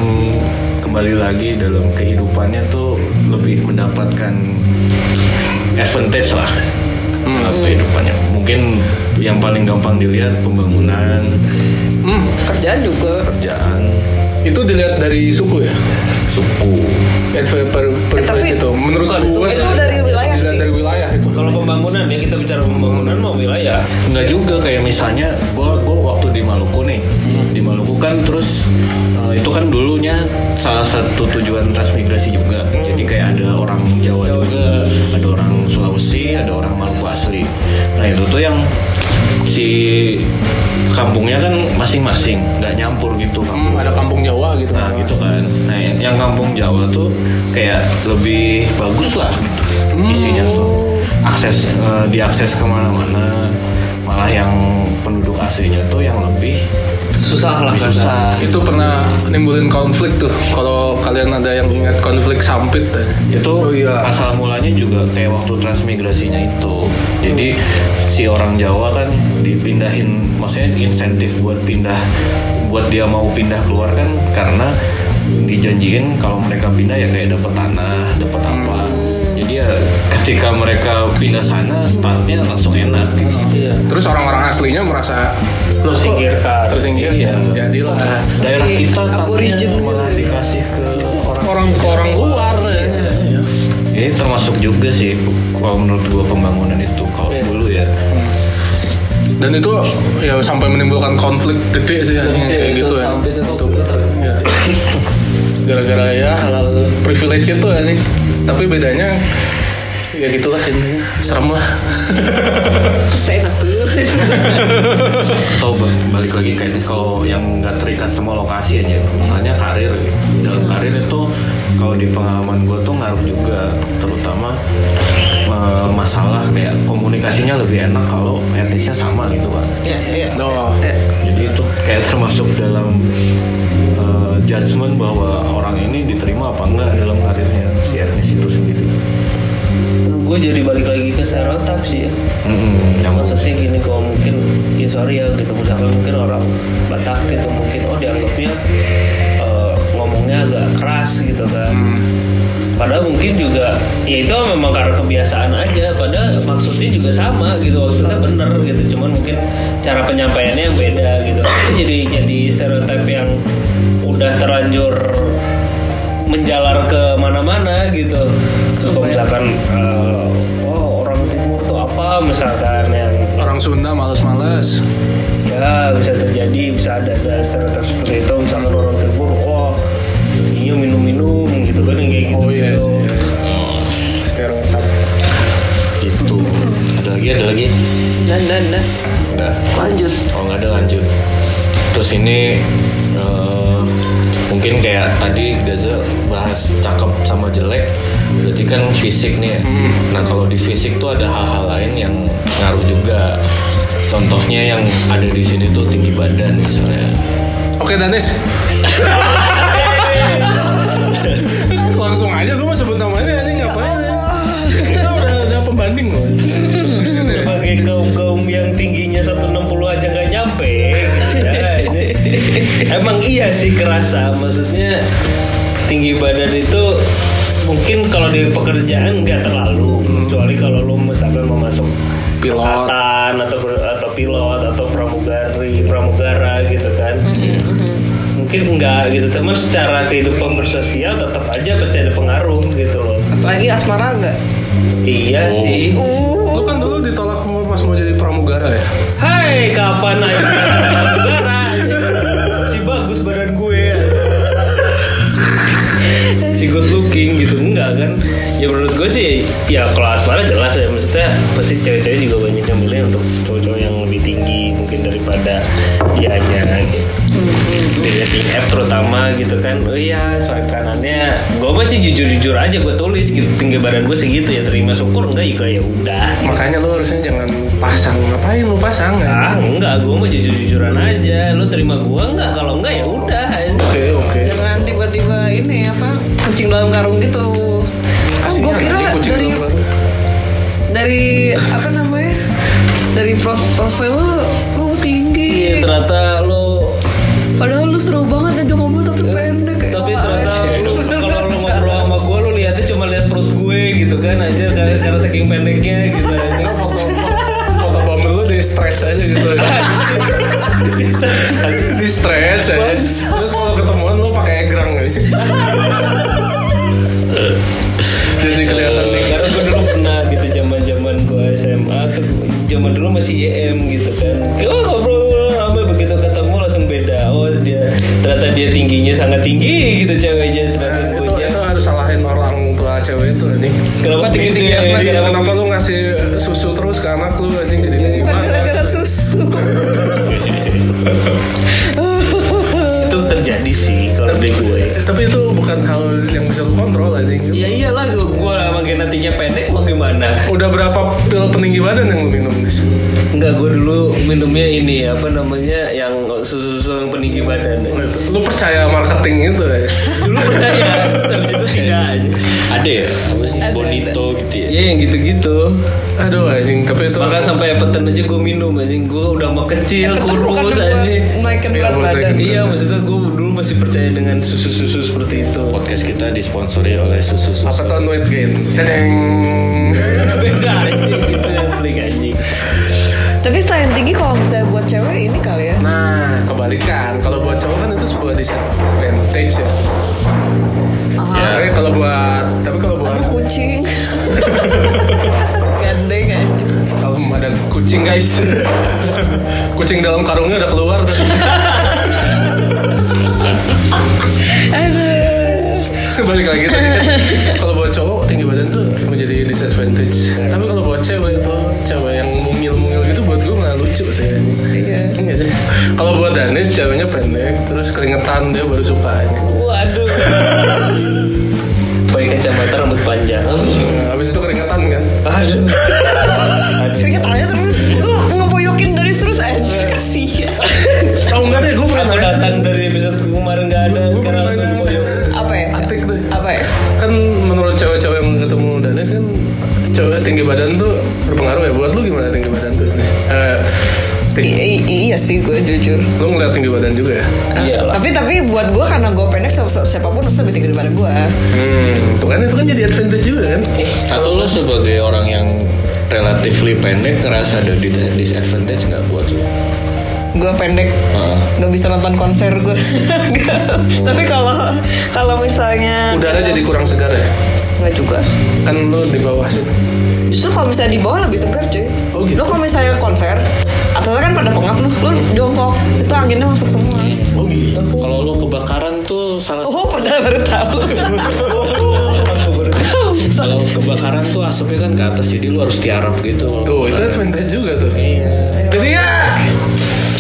S3: kembali lagi dalam kehidupannya tuh lebih mendapatkan advantage lah dalam kehidupannya. Mungkin yang paling gampang dilihat pembangunan,
S1: Hmm,
S2: kerjaan juga
S3: kerjaan,
S1: itu dilihat dari suku ya.
S3: suku.
S1: Adver- per, per,
S2: Eh, tapi-
S1: itu menurut
S4: bukan,
S1: gue
S2: itu
S1: sih,
S2: dari wilayah
S1: dilihat
S2: sih.
S1: dari wilayah itu.
S4: Kalau pembangunan ya kita bicara pembangunan mau ya. wilayah.
S3: Enggak juga kayak misalnya gua gua waktu di Maluku nih.
S1: Hmm.
S3: Di Maluku kan terus eh, itu kan dulunya salah satu tujuan transmigrasi juga.
S1: Hmm.
S3: Jadi kayak ada orang Jawa juga, ada orang Sulawesi, ada orang Maluku asli. Nah, itu tuh yang si kampungnya kan masing-masing, nggak nyampur gitu kampung.
S1: Hmm, ada kampung Jawa gitu.
S3: Nah gitu kan. Nah yang- yang kampung Jawa tuh kayak lebih bagus lah gitu, isinya tuh. Akses eh, diakses kemana-mana. Malah yang penduduk aslinya tuh yang lebih
S4: Susah lah
S3: lebih
S4: kata.
S3: susah.
S1: Itu pernah nimbulin konflik tuh. Kalau kalian ada yang ingat konflik Sampit eh.
S3: Itu
S4: Oh, iya.
S3: asal mulanya juga kayak waktu transmigrasinya itu. Jadi si orang Jawa kan dipindahin, maksudnya insentif buat pindah, buat dia mau pindah keluar kan karena dijanjiin kalau mereka pindah ya kayak dapat tanah, dapat apa. Jadi ya ketika mereka pindah sana startnya langsung enak. gitu.
S4: Iya.
S1: Terus orang-orang aslinya merasa
S4: Terus singkirkan.
S1: terus yang
S3: Iya.
S1: jadilah
S3: Daerah kita
S2: Aborigin.
S3: tanahnya malah dikasih ke orang
S1: orang ke orang luar. ya.
S3: Ini termasuk juga sih kalau menurut gua pembangunan itu kalau dulu ya.
S1: dan itu ya sampai menimbulkan konflik gede sih yang kayak gitu ya
S4: Sampai Iya, itu tuh
S1: Ya. gara-gara ya halal privilege itu ya nih tapi bedanya ya gitulah ini serem lah
S2: selesai enak tuh
S3: atau ba- balik lagi ke etnis kalau yang nggak terikat sama lokasi aja misalnya karir dalam karir itu kalau di pengalaman gue tuh ngaruh juga terutama eh, masalah kayak komunikasinya lebih enak kalau etnisnya sama gitu kan
S2: iya iya
S1: oh
S2: Iya.
S3: jadi itu kayak termasuk dalam eh, judgement bahwa orang ini diterima apa enggak dalam karirnya si etnis itu sendiri
S4: Gue jadi balik lagi ke stereotip sih ya.
S3: Mm-mm, yang
S4: Maksudnya gini kalau mungkin ya sorry ya gitu misalkan mungkin orang Batak gitu mungkin oh dianggapnya eh, ngomongnya agak keras gitu kan. Padahal mungkin juga ya itu memang karena kebiasaan aja. Padahal maksudnya juga sama gitu maksudnya bener gitu. Cuman mungkin cara penyampaiannya yang beda gitu. Itu jadi jadi stereotip yang udah terlanjur menjalar ke mana-mana gitu. Kalau misalkan eh, oh orang timur tuh apa misalkan yang
S1: orang Sunda males-males
S4: ya bisa terjadi bisa ada ada stereotip seperti itu misalkan orang timur oh ini minum-minum gitu kan yang kayak gitu
S1: oh iya sih, iya. stereotip
S3: itu ada lagi ada lagi
S2: dan dan dan
S3: udah
S2: lanjut
S3: Kalau Oh, nggak ada lanjut. Terus ini eh, mungkin kayak tadi Gaza bahas cakep sama jelek, berarti kan fisik nih ya. Nah kalau di fisik tuh ada hal-hal lain yang ngaruh juga. Contohnya yang ada di sini tuh tinggi badan misalnya.
S1: oke Danis langsung aja gue mau sebut namanya ini ngapain ya? kita udah ada pembahasan
S4: gitu ya. Emang iya sih kerasa, maksudnya tinggi badan itu mungkin kalau di pekerjaan nggak terlalu,
S1: Hmm.
S4: kecuali kalau lu sampai mau masuk
S1: Pilot.
S4: angkatan atau atau pilot atau pramugari, pramugara gitu kan. Mungkin enggak gitu, teman secara kehidupan bersosial tetap aja pasti ada pengaruh gitu loh.
S2: Apalagi asmara enggak?
S4: Iya sih.
S1: Lo kan dulu ditolak mau pas mau jadi pramugara ya?
S4: Hai, kapan aja pramugara? Si bagus badan gue. si good looking gitu enggak kan? Ya menurut gue sih ya kalau asmara jelas ya maksudnya pasti cewek-cewek juga banyak yang milih untuk cowok-cowok yang lebih tinggi mungkin daripada dianya gitu. Dari dating app terutama gitu kan Oh iya swipe kanannya Gue masih jujur-jujur aja gue tulis gitu Tinggi badan gue segitu ya Terima syukur enggak juga ya udah
S1: Makanya lo harusnya jangan pasang. Ngapain lo pasang?
S4: Ah, enggak, gue mau jujur-jujuran aja. Lu terima gua enggak? Kalau enggak ya udah.
S1: Oke oke.
S2: Jangan tiba-tiba ini apa kucing dalam karung gitu. Oh,
S1: Asik
S2: gue
S1: kan,
S2: kira
S1: anjing, kucing
S2: dari
S1: dalam karung.
S2: dari apa namanya dari prof- profil lu lu
S4: Iya,
S2: tinggi.
S4: ternyata lu
S2: Padahal lu seru banget ngajak ngobrol tapi pendek. kayak
S4: tapi
S2: apa
S4: ternyata
S2: aja.
S4: lu- kalau lu ngobrol sama gua lu lihatnya cuma lihat perut gue gitu kan aja karena, karena saking pendeknya gitu aja.
S1: Lo foto foto bumble lo di stretch aja gitu. di stretch aja. Terus kalau ketemuan lo pakai egrang gitu. Jadi kelihatan nih.
S4: Karena gue dulu pernah gitu zaman-zaman gue SMA tuh zaman dulu masih YM gitu kan. Oh, ngobrol apa begitu ketemu langsung beda. Oh, dia ternyata dia tingginya sangat tinggi gitu ceweknya sedangkan
S1: Nah, Itu,
S4: gue
S1: itu harus salahin orang tua cewek itu anjing.
S4: iya. Kenapa tinggi-tinggi amat
S1: Iya, kenapa lu ngasih susu terus ke anak lu anjing jadi tinggi
S2: Bukan
S1: banget.
S2: gara-gara susu.
S4: itu terjadi sih kalau di gue
S1: Tapi itu bukan hal yang bisa lu kontrol anjing.
S4: ya iyalah gue gue sama genetiknya pendek mau gimana
S1: Udah berapa pil peninggi badan yang lu minum Dis?
S4: enggak gue dulu minumnya ini apa namanya yang susu susu yang peninggi badan
S1: Lu percaya marketing itu ya?
S4: dulu percaya tapi itu tidak aja
S3: Ada ya? Apa sih? Bonito gitu ya?
S4: ya yang gitu-gitu
S1: Aduh anjing, tapi itu
S4: bahkan sampai peten aja gue minum anjing gue udah mau kecil
S2: Bukan
S4: kurus
S2: buat
S4: anjing
S2: Naikin
S1: Iya,
S2: berat
S1: buat
S2: badan.
S1: naikin.
S4: iya maksudnya gue dulu masih percaya dengan susu-susu seperti itu
S3: Podcast kita disponsori oleh susu-susu.
S1: apa tahun weight gain? Tadeng.
S4: beda anjing itu yang pelik anjing
S2: Tapi selain tinggi kalau misalnya buat cewek ini kali ya.
S1: Nah, kebalikan. Kalau buat cowok kan itu sebuah disadvantage ya.
S3: Ya.
S1: Tapi kalau buat tapi kalau buat
S2: Aduh kucing. Gandeng aja.
S1: kalau ada kucing guys. kucing dalam karungnya udah keluar tuh.
S2: Aduh.
S1: balik lagi tadi kan, kalau buat cowok tinggi badan tuh menjadi disadvantage tapi kalau buat cewek tuh cewek yang mungil-mungil gitu buat gue malah lucu sih
S2: Iya.
S1: Iya nggak sih kalau buat Danis ceweknya pendek terus keringetan dia baru suka ini
S4: waduh pakai kacamata rambut panjang
S1: Nah, habis itu keringetan kan
S4: aduh
S2: Keringet tangannya terus.
S1: Iya.
S2: Lu ngepoyokin dari terus aja. Kasihan.
S1: tau nggak deh gue pernah
S4: Aku datang dari episode kemarin nggak ada, sekarang langsung
S1: nanya.
S4: moyo.
S2: Apa ya?
S1: Atik deh.
S2: Apa ya?
S1: kan menurut cewek-cewek yang ketemu Danis kan cewek tinggi badan tuh berpengaruh ya buat lu gimana tinggi badan tuh Danis? Eh,
S2: I-
S1: ting-
S2: i- iya sih gue jujur. Ah,
S1: lu ngeliat tinggi badan juga ya?
S4: Iyalah.
S2: Tapi tapi buat gue karena gue pendek sama sama siapapun pasti lebih tinggi daripada gue.
S1: Hmm, tuh kan itu kan jadi advantage juga kan?
S3: Atau lo sebagai orang yang relatively pendek ngerasa ada di- disadvantage nggak buat lo?
S2: Gue pendek
S3: Heeh.
S2: nggak bisa nonton konser gue. tapi kalau kalau misalnya
S1: Udara jadi kurang segar ya?
S2: nggak juga.
S1: kan lu di bawah sini
S2: Justru kalau misalnya di bawah lebih segar cuy.
S1: Oh, gitu.
S2: Lu kalau misalnya konser atasnya kan pada pengap lu, lu jongkok itu anginnya masuk semua.
S1: Iya.
S3: Kalau lo kebakaran tuh salah
S2: Oh, padahal baru tahu.
S3: kalau kebakaran tuh asapnya kan ke atas jadi lo harus tiarap gitu.
S1: tuh itu advantage juga tuh jadi ya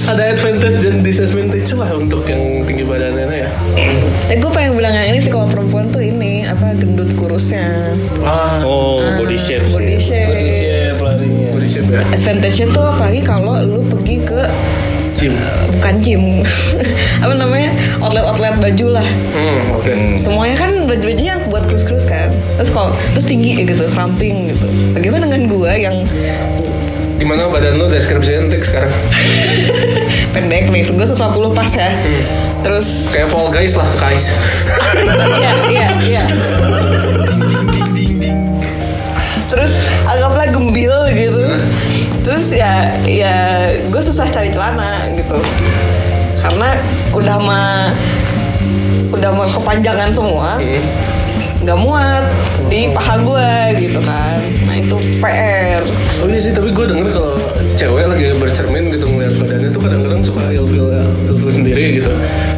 S1: ada advantage dan disadvantage lah untuk yang tinggi badannya ya
S2: Tapi gue Eh, pengen bilang yang ini sih kalau perempuan tuh ini apa gendut kurusnya.
S1: wah
S3: Oh, body shape
S2: Iya, Body
S3: sih.
S2: shape.
S4: Manusia pelarinya.
S1: body shape ya
S2: Advantage-nya tuh apalagi kalau lu pergi ke eh,
S1: gym
S2: bukan gym apa namanya outlet-outlet baju lah
S1: hmm oke
S2: semuanya kan baju-bajunya buat cruise-cruise kan terus kalau terus tinggi gitu ramping gitu bagaimana dengan gua yang
S1: Gimana badan lu deskripsiin tik sekarang?
S2: pendek nih gue 150 pas ya terus
S1: Kayak fall guys lah, guys.
S2: iya iya iya terus anggaplah gembil gitu terus ya ya gue susah cari celana gitu karena udah mah udah mah kepanjangan semua nggak muat di paha gue gitu kan nah itu PR
S1: Oh iya sih, tapi gue denger kalau cewek lagi bercermin gitu ngeliat badannya tuh kadang-kadang suka ilfil ya, ilfil sendiri gitu.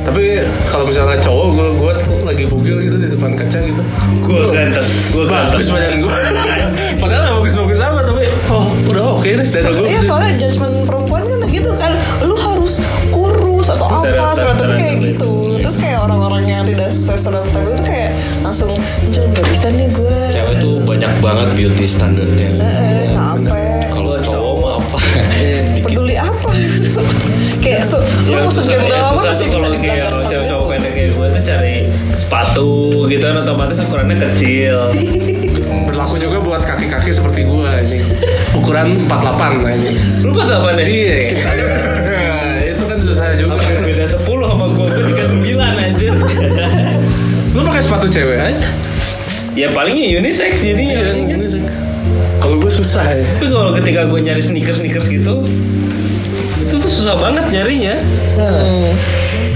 S1: Tapi kalau misalnya cowok gue gue tuh lagi bugil gitu di depan kaca gitu.
S4: Gue ganteng, gue ganteng.
S1: Bagus badan gue. Padahal nggak bagus-bagus amat tapi oh udah oke deh dada gue.
S2: Iya soalnya judgement perempuan kan gitu kan Lu harus kurus atau apa Stereotipnya kayak gitu Terus kayak orang-orang yang tidak sesuai stereotip itu kayak Langsung Jel gak bisa nih gue
S3: Cewek tuh banyak banget beauty standarnya.
S2: Eh, capek
S3: Kalau cowok mah apa?
S2: Peduli apa Kayak so, lu mau segenda
S4: ya,
S2: apa
S4: susah
S2: sih
S4: tuh
S2: bisa
S4: kalau kayak
S2: dibilang
S4: kalau
S2: gampang
S4: cowok-cowok pendek kayak gue tuh cari sepatu gitu kan otomatis ukurannya kecil.
S1: Hmm, Berlaku juga buat kaki-kaki seperti gue ini. Ukuran 48 nah ini.
S4: Lu pas apa nih?
S1: Iya. Itu kan susah juga.
S4: Hampir beda 10 sama gue, gue 39 anjir
S1: Lu pakai sepatu cewek aja?
S4: Ya palingnya unisex
S1: Iya,
S4: jadinya
S1: ini sih. Kalau gue susah ya.
S4: Tapi kalau ketika gue nyari sneakers-sneakers gitu Itu tuh susah banget nyarinya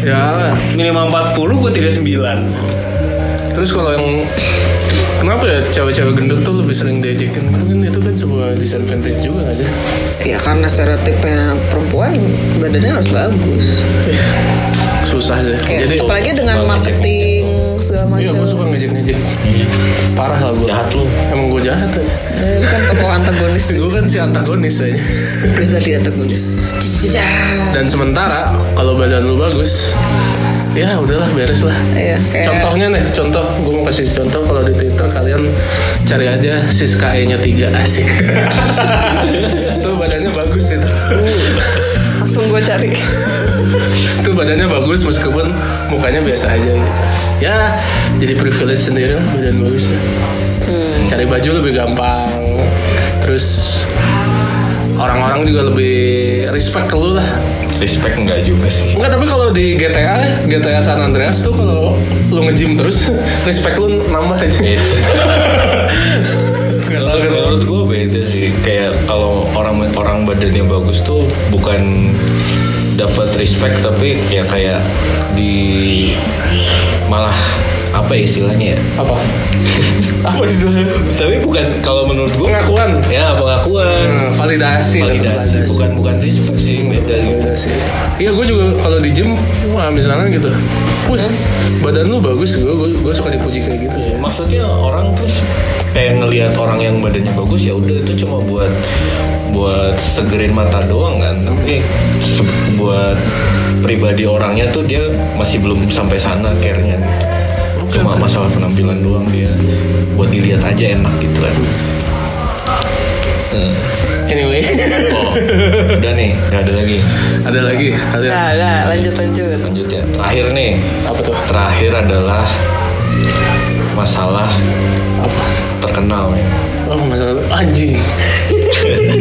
S1: Ya,
S4: Minimal 40, gue 39
S1: Terus kalau yang kenapa ya cewek-cewek gendut tuh lebih sering diajakin? Kan itu kan sebuah disadvantage juga nggak sih?
S2: Ya karena stereotipnya perempuan Badannya harus bagus
S1: Susah sih.
S2: Kayak,
S1: Jadi
S2: Apalagi
S4: oh,
S2: dengan marketing Segala
S1: iya gue
S2: macam
S1: suka ngejek-ngejek. Parah lah gue.
S3: Jahat lu.
S1: Emang gue jahat ya.
S2: Eh, Kan tokoh antagonis
S1: Gue kan si antagonis aja.
S2: Reza di antagonis Jijah.
S1: Dan sementara kalau badan lu bagus, ya udahlah beres lah.
S2: Iya, kayak-
S1: Contohnya nih, contoh gue mau kasih contoh kalau di Twitter kalian cari aja Siska E nya tiga asik. itu badannya bagus itu.
S2: Langsung gue cari
S1: itu badannya bagus meskipun mukanya biasa aja gitu. ya jadi privilege sendiri lah badan bagus ya. cari baju lebih gampang terus orang-orang juga lebih respect ke lu lah
S3: Respect enggak juga sih.
S1: enggak tapi kalau di GTA GTA San Andreas tuh kalau lu nge-gym terus respect lu nambah aja
S3: Itu.
S1: Galau gitu.
S3: Menurut gue beda sih. Kayak kalau orang orang badannya bagus tuh bukan dapat respect tapi ya kayak di malah apa ya istilahnya ya?
S1: apa apa istilahnya
S3: Tapi bukan kalau menurut gue
S1: pengakuan
S3: ya pengakuan.
S1: Hmm, validasi
S3: validasi bukan bukan respect sih beda gitu
S1: Beda sih. Iya gue juga kalau di gym, wah misalnya gitu, wih badan lu bagus, gue gue, gue suka dipuji kayak gitu sih.
S3: maksudnya orang tuh kayak ngelihat orang yang badannya bagus ya udah itu cuma buat buat segerin mata doang kan tapi se- buat pribadi orangnya tuh dia masih belum sampai sana care-nya gitu. cuma masalah penampilan doang dia buat dilihat aja enak gitu kan Eh,
S1: Anyway,
S3: oh udah nih nggak ada lagi
S1: ada lagi, ada
S2: Nah, nah lanjut lanjut
S3: lanjut ya terakhir nih
S1: apa tuh?
S3: terakhir adalah masalah
S1: Apa?
S3: terkenal ya.
S1: Oh masalah anjing,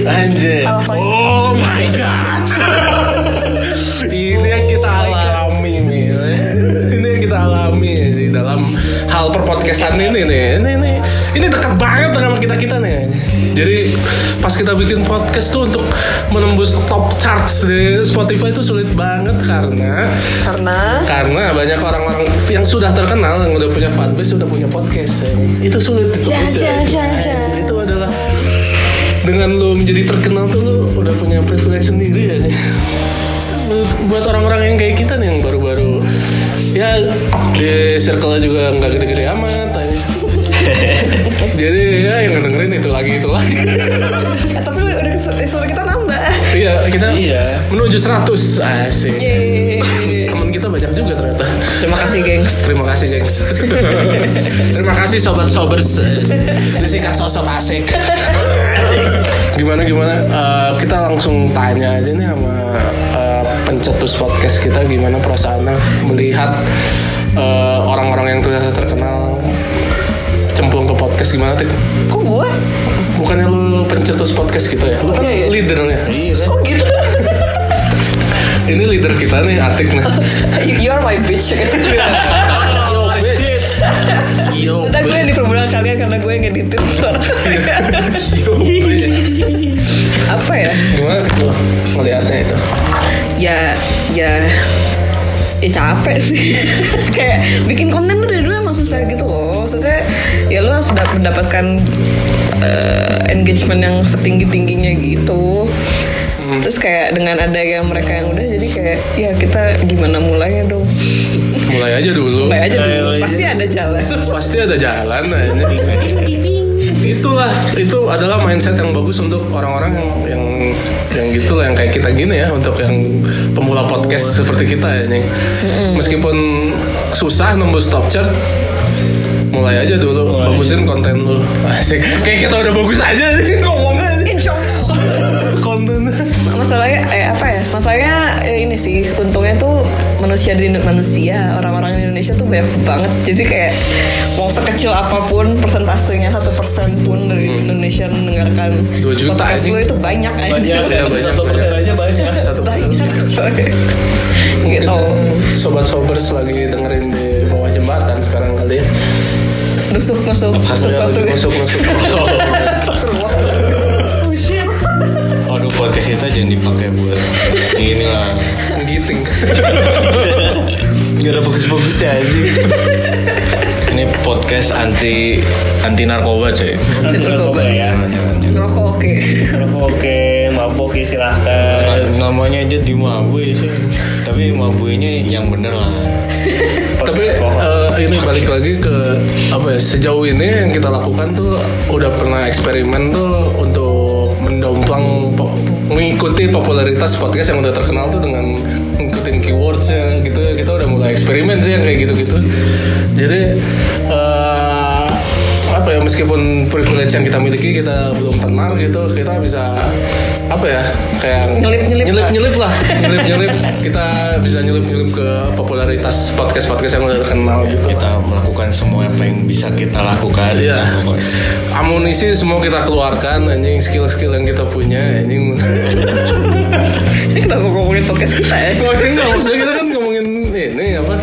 S1: anjing. Oh my god, ini yang kita alami nih. Ini yang kita alami di dalam hal perpodcastan ini nih. Ini ini ini dekat banget sama kita kita nih. Jadi pas kita bikin podcast tuh untuk menembus top charts di Spotify itu sulit banget karena
S2: karena
S1: karena banyak orang-orang yang sudah terkenal yang udah punya fanbase sudah punya podcast ya. itu sulit itu
S2: Ja, ja, ja, ja.
S1: Nah, itu adalah dengan lo menjadi terkenal tuh lo udah punya privilege sendiri aja buat orang-orang yang kayak kita nih yang baru-baru ya di circle juga nggak gede-gede amat aja. jadi ya yang dengerin itu lagi itu lagi
S2: Eh, tapi udah disuruh kita nambah
S1: iya kita
S4: Iya.
S1: menuju 100 asik
S2: Iya,
S1: teman kita banyak juga ternyata
S2: terima kasih gengs
S1: Terima kasih, gengs. Terima kasih sobat sobers. Disikat sosok asik. Gimana gimana? Eh, kita langsung tanya aja nih sama eh, pencetus podcast kita gimana perasaannya melihat eh, orang-orang yang sudah terkenal cemplung ke podcast gimana tik?
S2: kok gue
S1: bukannya lu pencetus podcast gitu ya? Lu kan
S2: Iya, iya.
S1: leadernya.
S3: Iya kan?
S2: Kok gitu?
S1: Ini leader kita nih, Atik nih.
S2: You- you are my bitch.
S1: Iya.
S4: Yo,
S2: Udah gue yang diperbudak kalian karena gue yang ngeditin suara kalian. Iya. Apa ya?
S1: Gimana tuh lu ngeliatnya itu?
S2: Ya, ya, ya capek sih. Kayak bikin konten tuh dari dulu emang susah gitu loh. Maksudnya ya lo harus dap- mendapatkan eh, engagement yang setinggi tingginya gitu. Terus kayak dengan ada yang mereka yang udah jadi kayak ya kita gimana mulainya dong.
S1: Mulai aja dulu.
S2: Mulai aja
S4: Mulai
S2: dulu.
S4: aja.
S2: Pasti ada jalan.
S1: Pasti ada jalan aja. Itulah, itu adalah mindset yang bagus untuk orang-orang yang yang yang gitulah yang kayak kita gini ya untuk yang pemula podcast seperti kita ya Nying. Meskipun susah nembus top chart, mulai aja dulu bagusin konten lu. Asik. Kayak kita udah bagus aja sih ngomongnya. sih.
S2: Insya Allah.
S1: Konten.
S2: masalahnya eh apa ya masalahnya eh, ini sih untungnya tuh manusia di manusia orang-orang di Indonesia tuh banyak banget jadi kayak mau sekecil apapun persentasenya satu persen pun dari Indonesia mendengarkan
S1: Hmm. Dua juta,
S2: podcast
S1: anjing.
S2: lu itu banyak aja
S4: banyak
S1: Iya, banyak,
S4: satu persen aja banyak.
S1: Satu
S2: banyak coy
S1: Mungkin ya.
S2: gitu
S1: sobat sobers lagi dengerin di bawah jembatan sekarang kali ya.
S2: nusuk nusuk sesuatu ya.
S1: Masuk masuk.
S3: Aduh podcast kita jangan dipakai buat ini lah.
S1: Giting.
S4: Gak ada bagus-bagusnya aja.
S3: Ini podcast anti anti narkoba cuy.
S2: Nanti narkoba.
S4: ya.
S3: Jangan jangan. jangan.
S2: ngerokok oke
S4: Oke, mabok ya silahkan.
S3: Nah, namanya aja di mabui sih. Tapi mabuinya yang bener lah.
S1: Tapi eh, ini balik lagi ke apa ya? Sejauh ini yang kita lakukan tuh udah pernah eksperimen tuh untuk mendomplang po- mengikuti popularitas podcast yang udah terkenal tuh dengan ngikutin keywordsnya gitu ya kita udah mulai eksperimen sih yang kayak gitu-gitu jadi eh, apa ya meskipun privilege yang kita miliki kita belum tenar gitu kita bisa apa ya kayak
S2: Nyelip-nyelip lah.
S1: nyelip lah nyelip nyelip kita bisa nyelip nyelip ke popularitas podcast podcast yang udah terkenal gitu
S3: Kita melakukan semua apa yang bisa kita lakukan.
S1: Iya. amunisi semua kita keluarkan anjing skill skill yang kita punya anjing
S2: ini kenapa ngomongin podcast kita ya
S1: ngomongin nggak maksudnya kita kan ngomongin ini apa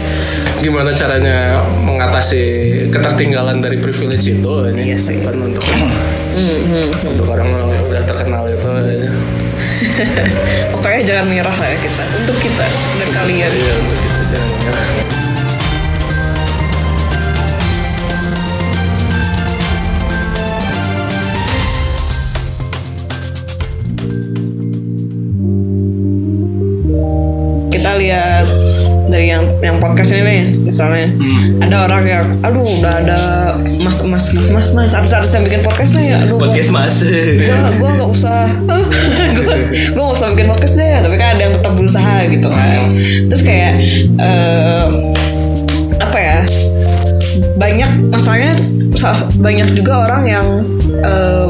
S1: gimana caranya mengatasi ketertinggalan dari privilege itu ini
S2: Iya sih. hmm,
S1: kan untuk untuk orang yang udah terkenal itu ya. anjing.
S2: pokoknya jangan menyerah lah ya kita untuk kita dan kalian
S1: Iya, untuk itu, jangan menyerah.
S2: kita lihat dari yang yang podcast ini nih misalnya ada orang yang aduh udah ada mas mas mas mas artis artis yang bikin podcast nih aduh gua-
S4: Podcast mas.
S2: gua
S1: Iya,
S2: gua nggak usah gua gua nggak usah bikin podcast deh tapi kan ada yang tetap berusaha gitu
S1: Iya.
S2: kan terus kayak eh, apa ya banyak masalahnya sa- banyak juga orang yang eh,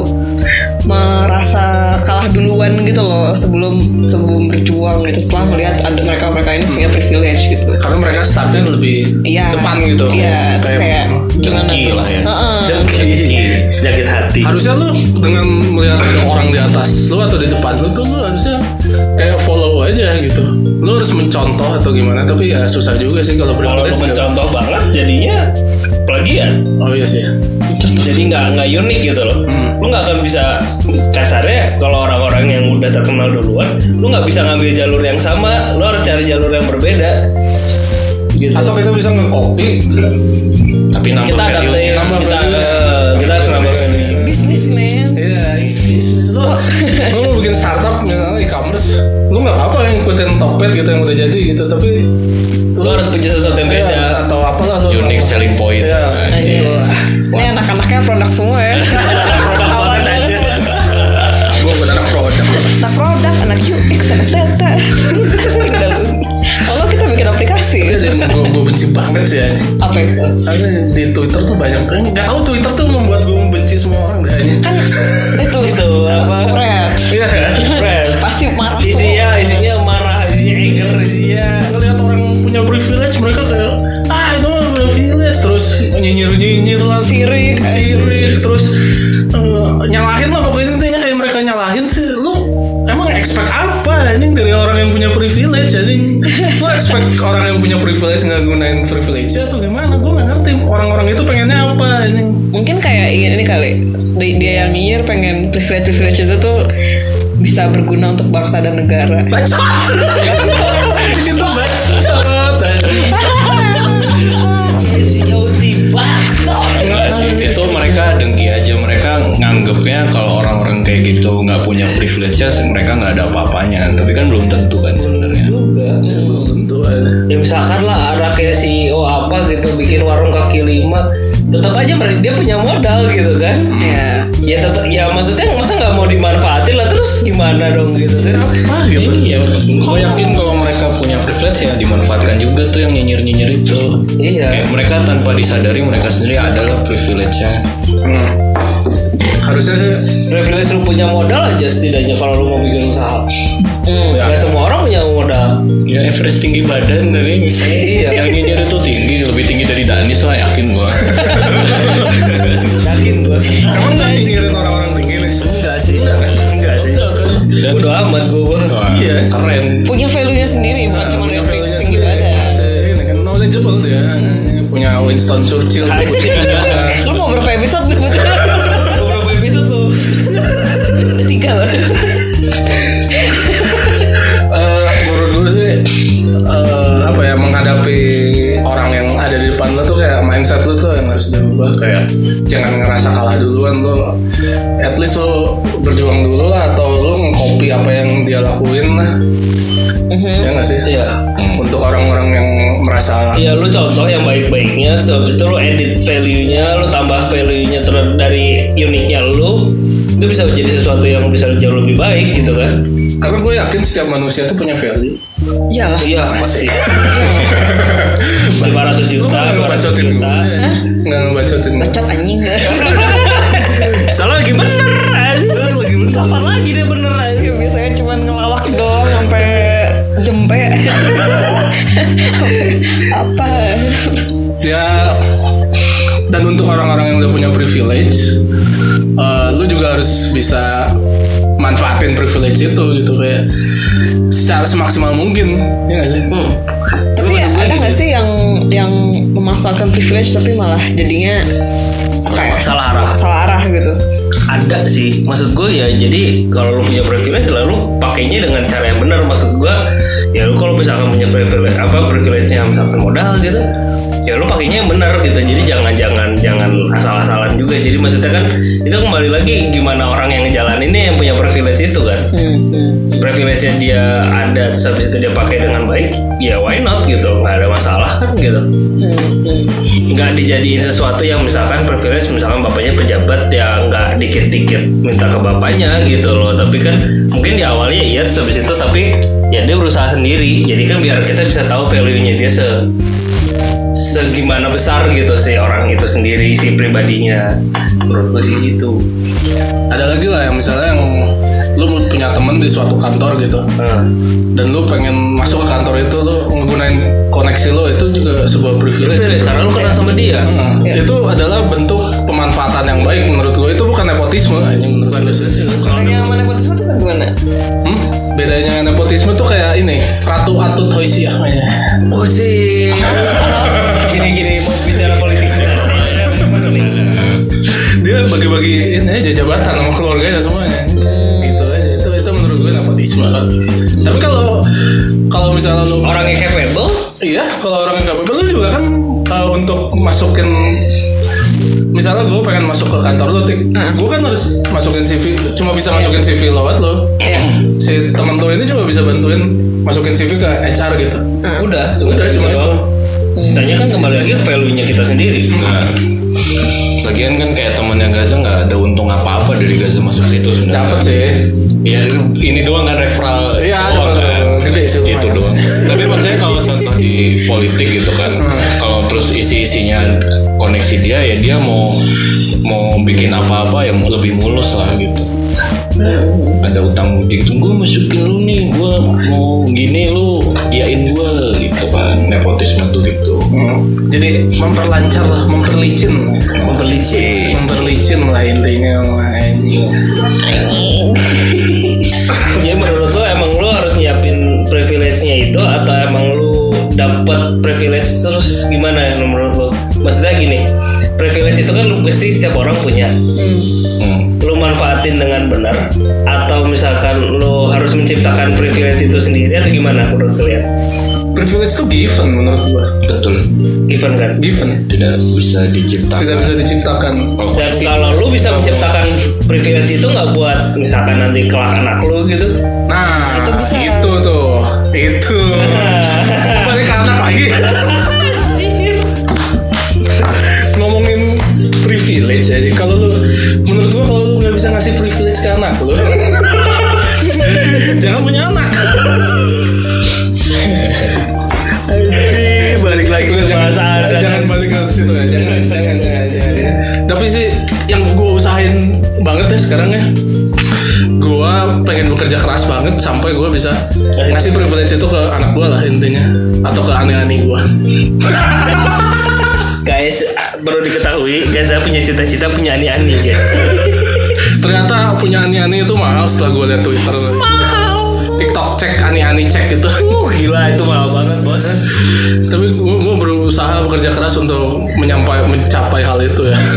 S2: merasa kalah duluan gitu loh sebelum sebelum berjuang gitu setelah melihat ada mereka mereka ini punya privilege gitu
S1: Hmm. karena mereka startnya lebih
S2: Iya.
S1: depan gitu
S2: Iya, terus kayak gimana
S3: dengki
S2: tuh?
S3: lah ya.
S2: Heeh.
S1: eh,
S4: Sakit hati.
S1: harusnya lu dengan melihat ada orang di atas lu atau di depan lu tuh lu harusnya kayak follow aja gitu lu harus mencontoh atau gimana tapi ya susah juga sih kalau
S4: Kalau lu
S1: privilege nggak-
S4: mencontoh banget jadinya plagiat.
S1: oh iya sih
S4: Jadi nggak nggak unik gitu loh.
S1: Hmm.
S4: Lu nggak akan bisa kasarnya kalau orang-orang yang udah terkenal duluan, lu nggak bisa ngambil jalur yang sama. Lu harus cari jalur yang berbeda. Gitu.
S1: atau kita bisa nge-copy
S3: Tapi nambah
S4: kita ada kita
S3: value-nya.
S1: Nambah value-nya.
S4: eh, kita harus nambah value-nya.
S2: Bisnis man.
S1: Iya, bisnis lu, lu mau bikin startup misalnya e-commerce, lu nggak apa-apa yang ikutin Tokped gitu yang udah jadi gitu, tapi
S4: Lu harus punya sesuatu yang
S1: Iya,
S4: beda. Nah,
S1: atau apalah lu
S3: Unique selling point.
S1: Iya, gitu lah.
S2: Ini anak-anaknya produk semua ya.
S4: Produk
S2: Awal
S4: banget aja.
S2: banget.
S1: Gue beneran produk.
S2: Anak produk, anak UX, anak data. Pusing dah lu. Kalau kita bikin aplikasi,
S1: Iya, Gue gue benci banget sih ya.
S2: apa ya?
S1: Karena di Twitter tuh banyak kan nggak tahu Twitter tuh membuat gue membenci semua orang deh.
S2: Kan itu
S4: Itu apa?
S2: Red.
S1: Iya kan? Iya,
S4: Friends.
S2: Pasti marah semua.
S4: Isinya isinya marah, isinya anger, isinya
S1: Ngeliat orang punya privilege mereka kayak ah itu mah privilege terus nyinyir nyinyir lah
S2: Sirik.
S1: sirik terus eh, nyalahin lah pokoknya intinya kayak mereka nyalahin sih lu emang expect apa anjing dari orang yang punya privilege anjing lu expect orang yang punya privilege nggak gunain privilege atau gimana gue nggak ngerti orang-orang itu pengennya apa anjing
S2: mungkin kayak ini, ini kali dia, dia yang nyinyir pengen privilege privilege itu tuh bisa berguna untuk bangsa dan negara
S1: bacot itu bacot anjing.
S3: Enggak sih, itu mereka dengki aja mereka nganggepnya kalau orang-orang kayak gitu nggak punya privileges mereka nggak ada apa-apanya tapi kan belum tentu kan sebenarnya
S1: belum tentu ada
S4: ya misalkan lah anak kayak CEO apa gitu bikin warung kaki lima tetap aja mereka- dia punya modal gitu kan
S1: Hmm.
S2: ya
S4: ya tetap ya maksudnya masa nggak mau dimanfaatin lah terus gimana dong gitu kan
S1: ah gitu
S3: Iya, gue yakin kalau mereka punya privilege ya dimanfaatkan juga tuh yang nyinyir-nyinyir itu.
S4: iya
S3: Kayak mereka tanpa disadari mereka sendiri adalah privilege-nya.
S1: Hmm. harusnya sih
S4: privilege lu punya modal aja setidaknya kalau lu mau bikin usaha
S1: ya.
S4: nggak semua orang punya modal
S3: Ya average tinggi badan dari
S4: Iya.
S3: yang nyinyir itu tinggi, lebih tinggi dari Danis lah yakin gua.
S4: yakin gua
S1: emang nggak nyinyirin orang-orang tinggi nih
S4: enggak sih enggak sih
S3: Dan
S4: udah amat gua
S3: Wah,
S1: Iya.
S3: keren.
S2: punya value nya sendiri bukan cuma
S1: punya
S2: yang gitu
S1: value-nya
S2: tinggi
S1: sendiri.
S2: badan
S1: Se- ini kan knowledgeable dia punya Winston Churchill
S2: lu mau berapa episode nih butuh
S4: beberapa episode tuh
S2: tiga loh
S1: Eh, menurut gue sih eh, apa ya menghadapi orang yang ada di depan lo tuh kayak mindset lo tuh yang harus diubah kayak jangan ngerasa kalah duluan lo at least lo berjuang dulu lah atau lo ngcopy apa yang dia lakuin lah ya nggak sih Hmm,
S4: iya
S1: untuk orang-orang yang merasa
S4: Iya lu contoh yang baik-baiknya, so habis itu lu edit value-nya, lu tambah value-nya ter- dari uniknya lu, itu bisa jadi sesuatu yang bisa jauh lebih baik gitu kan?
S1: karena gue yakin setiap manusia tuh punya value
S2: iyalah
S4: Iya pasti. 500
S1: lu
S4: juta,
S1: nggak
S4: 200
S1: ngebacotin
S4: juta.
S1: gue nggak ngebacotin gue
S2: bacot anjing
S4: Salah lagi bener, anjing. lagi bener. Kapan lagi dia bener anjing?
S2: Iya, biasanya cuma ngelawak doang sampai jempe apa
S1: ya dan untuk orang-orang yang udah punya privilege eh, lu juga harus bisa manfaatin privilege itu gitu kayak secara semaksimal mungkin ya nggak sih
S4: Hmm.
S2: tapi ada nggak sih yang yang memanfaatkan privilege tapi malah jadinya apa ya,
S4: Salah arah.
S2: salah arah gitu
S4: Ada sih. Maksud gue ya jadi kalau lu punya privilege lalu pakainya dengan cara yang benar. Maksud gue ya lu kalau misalkan punya privilege apa privilege-nya misalkan modal gitu ya lu pakainya yang benar gitu jadi jangan jangan jangan asal-asalan juga jadi maksudnya kan itu kembali lagi gimana orang yang ngejalaninnya yang punya privilege itu kan
S2: Hmm,
S4: privilege-nya dia ada terus habis itu dia pakai dengan baik ya why not gitu nggak ada masalah kan gitu
S2: hmm,
S4: nggak dijadiin sesuatu yang misalkan privilege misalkan bapaknya pejabat ya nggak dikit-dikit minta ke bapaknya gitu loh tapi kan mungkin di awalnya iya terus habis itu tapi ya dia berusaha sendiri jadi kan biar kita bisa tahu value-nya dia se segimana besar gitu si orang itu sendiri si pribadinya menurut gue sih gitu
S1: ada lagi lah yang misalnya yang lu punya temen di suatu kantor gitu
S4: Nah,
S1: dan lu pengen masuk ke kantor itu lu menggunain koneksi lu itu juga sebuah privilege
S4: privilege
S1: gitu.
S4: karena lu kenal sama dia
S1: Nah,
S2: Iya.
S1: itu adalah bentuk pemanfaatan yang baik menurut gue itu bukan nepotisme anjing menurut gue sih.
S2: Tanya sama nepotisme itu gimana?
S1: Hmm? Bedanya nepotisme tuh kayak ini Ratu Atut Hoisiyah namanya.
S4: kucing gini-gini mau bicara politik
S1: Dia bagi-bagi ini aja jabatan sama keluarganya semuanya Gitu aja Itu, itu menurut gue nepotisme Tapi kalau kalau misalnya lu
S4: orangnya capable
S1: Iya kalau orang yang capable lu juga kan uh, Untuk masukin Misalnya gue pengen masuk ke kantor lo, Tik Gue kan harus masukin CV Cuma bisa masukin CV lewat lo
S2: Iya.
S1: Si temen lo ini juga bisa bantuin Masukin CV ke HR gitu
S4: udah
S1: Udah, cuma
S4: gitu
S1: itu.
S4: doang. sisanya kan kembali lagi ke value-nya kita sendiri
S3: Nah, lagian kan kayak temennya Gaza nggak ada untung apa-apa dari Gaza masuk situ sebenarnya.
S1: Dapat sih
S3: Ya ini doang kan referral.
S1: Iya,
S3: doang kan?
S1: dapat, dapat. Gede sih lumayan.
S3: Itu doang. Tapi maksudnya kalau contoh di politik gitu kan,
S1: Hmm.
S3: kalau terus isi-isinya ya koneksi dia ya dia mau mau bikin apa-apa yang lebih mulus lah gitu.
S2: Hmm,
S3: ada utang budi gitu gue masukin lu nih gue mau gini lu yain gue gitu kan nepotisme tuh gitu
S1: Hmm. Jadi memperlancar lah, memperlicin,
S3: memperlicin
S1: Hmm. memperlicin lah intinya mah, anjing.
S4: Jadi Iya, menurut lo emang lo harus nyiapin privilege-nya itu atau emang lo dapat privilege terus gimana ya, menurut lo? Maksudnya gini, privilege itu kan pasti setiap orang punya.
S3: Hmm.
S4: Lo manfaatin dengan benar atau misalkan lo harus menciptakan privilege itu sendiri atau gimana menurut kalian?
S1: Privilege tuh given menurut gua.
S3: betul
S4: Given kan?
S1: Given.
S3: tidak bisa
S1: Tidak bisa diciptakan.
S3: diciptakan
S4: Dan kalau lu bisa menciptakan privilege itu nggak buat misalkan nanti kelak anak lu gitu.
S1: Nah,
S2: Itu bisa.
S1: Itu tuh. Itu. Balik ke anak lagi. Ngomongin privilege ya, jadi kalau lu menurut gua kalau lu nggak bisa ngasih privilege ke anak lu jangan punya anak
S4: balik lagi ke bahasa adat.
S1: jangan balik ke situ ya jangan jangan jangan, jangan. tapi sih yang gue usahain banget ya sekarang ya gue pengen bekerja keras banget sampai gue bisa ngasih privilege itu ke anak gue lah intinya atau ke anak-anak gue
S4: Guys, baru diketahui Gaza punya cita-cita punya ani-ani guys.
S1: ternyata punya ani-ani itu mahal setelah gue liat twitter tiktok cek ani-ani cek gitu
S4: Uh, gila itu mahal banget bos.
S1: tapi gue berusaha bekerja keras untuk menyampai mencapai hal itu ya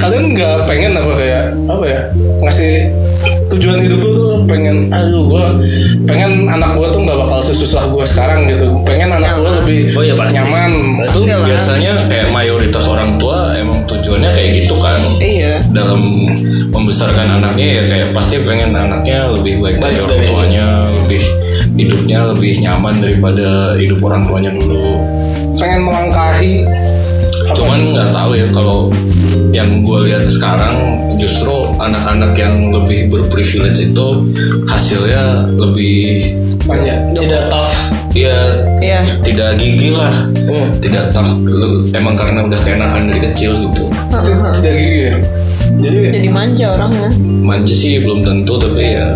S1: kalian nggak pengen apa kayak apa ya ngasih tujuan hidup lu tuh pengen aduh gue pengen anak gue tuh nggak bakal sesusah gue sekarang gitu pengen anak gue lebih
S4: Oh iya, pasti.
S1: nyaman
S3: itu biasanya kayak mayoritas orang tua emang tujuannya kayak gitu kan
S2: Iya.
S3: dalam membesarkan anaknya ya kayak pasti pengen anaknya lebih baik dari orang tuanya lebih hidupnya lebih nyaman daripada hidup orang tuanya dulu
S1: pengen melangkahi
S3: cuman nggak tahu ya kalau yang gue lihat sekarang justru anak-anak yang lebih berprivilege itu hasilnya lebih
S1: panjang
S4: Tidak tough.
S3: ya
S2: Iya.
S3: tidak gigih lah tidak tough emang karena udah keenakan dari kecil gitu
S2: Heeh.
S1: tidak gigi ya jadi
S2: Jadi manja orangnya.
S3: manja sih belum tentu tapi ya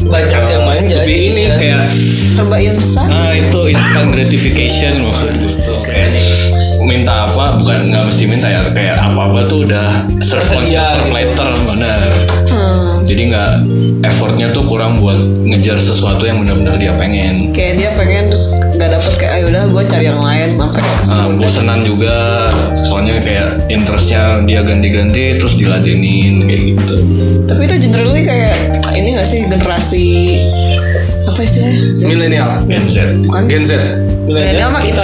S4: Banyak yang main jadi
S3: lebih ini kayak
S2: Serba instan.
S3: Nah itu instant gratification maksud gue tuh kayak minta apa bukan nggak mesti minta ya kayak apa apa tuh udah serve on
S4: Tersedia,
S3: silver
S4: gitu.
S3: platter bener
S2: Hmm.
S3: jadi nggak effortnya tuh kurang buat ngejar sesuatu yang benar-benar dia pengen
S2: Kayak dia pengen terus nggak dapet kayak ayo udah gue cari yang lain sampai ke
S3: Nah,
S2: kesini.
S3: bosenan juga soalnya kayak interestnya dia ganti-ganti terus diladenin kayak gitu
S2: Tapi itu generally kayak ini nggak sih generasi apa sih?
S1: milenial
S3: Gen Z
S2: Bukan.
S1: Gen Z
S2: Milenial mah kita.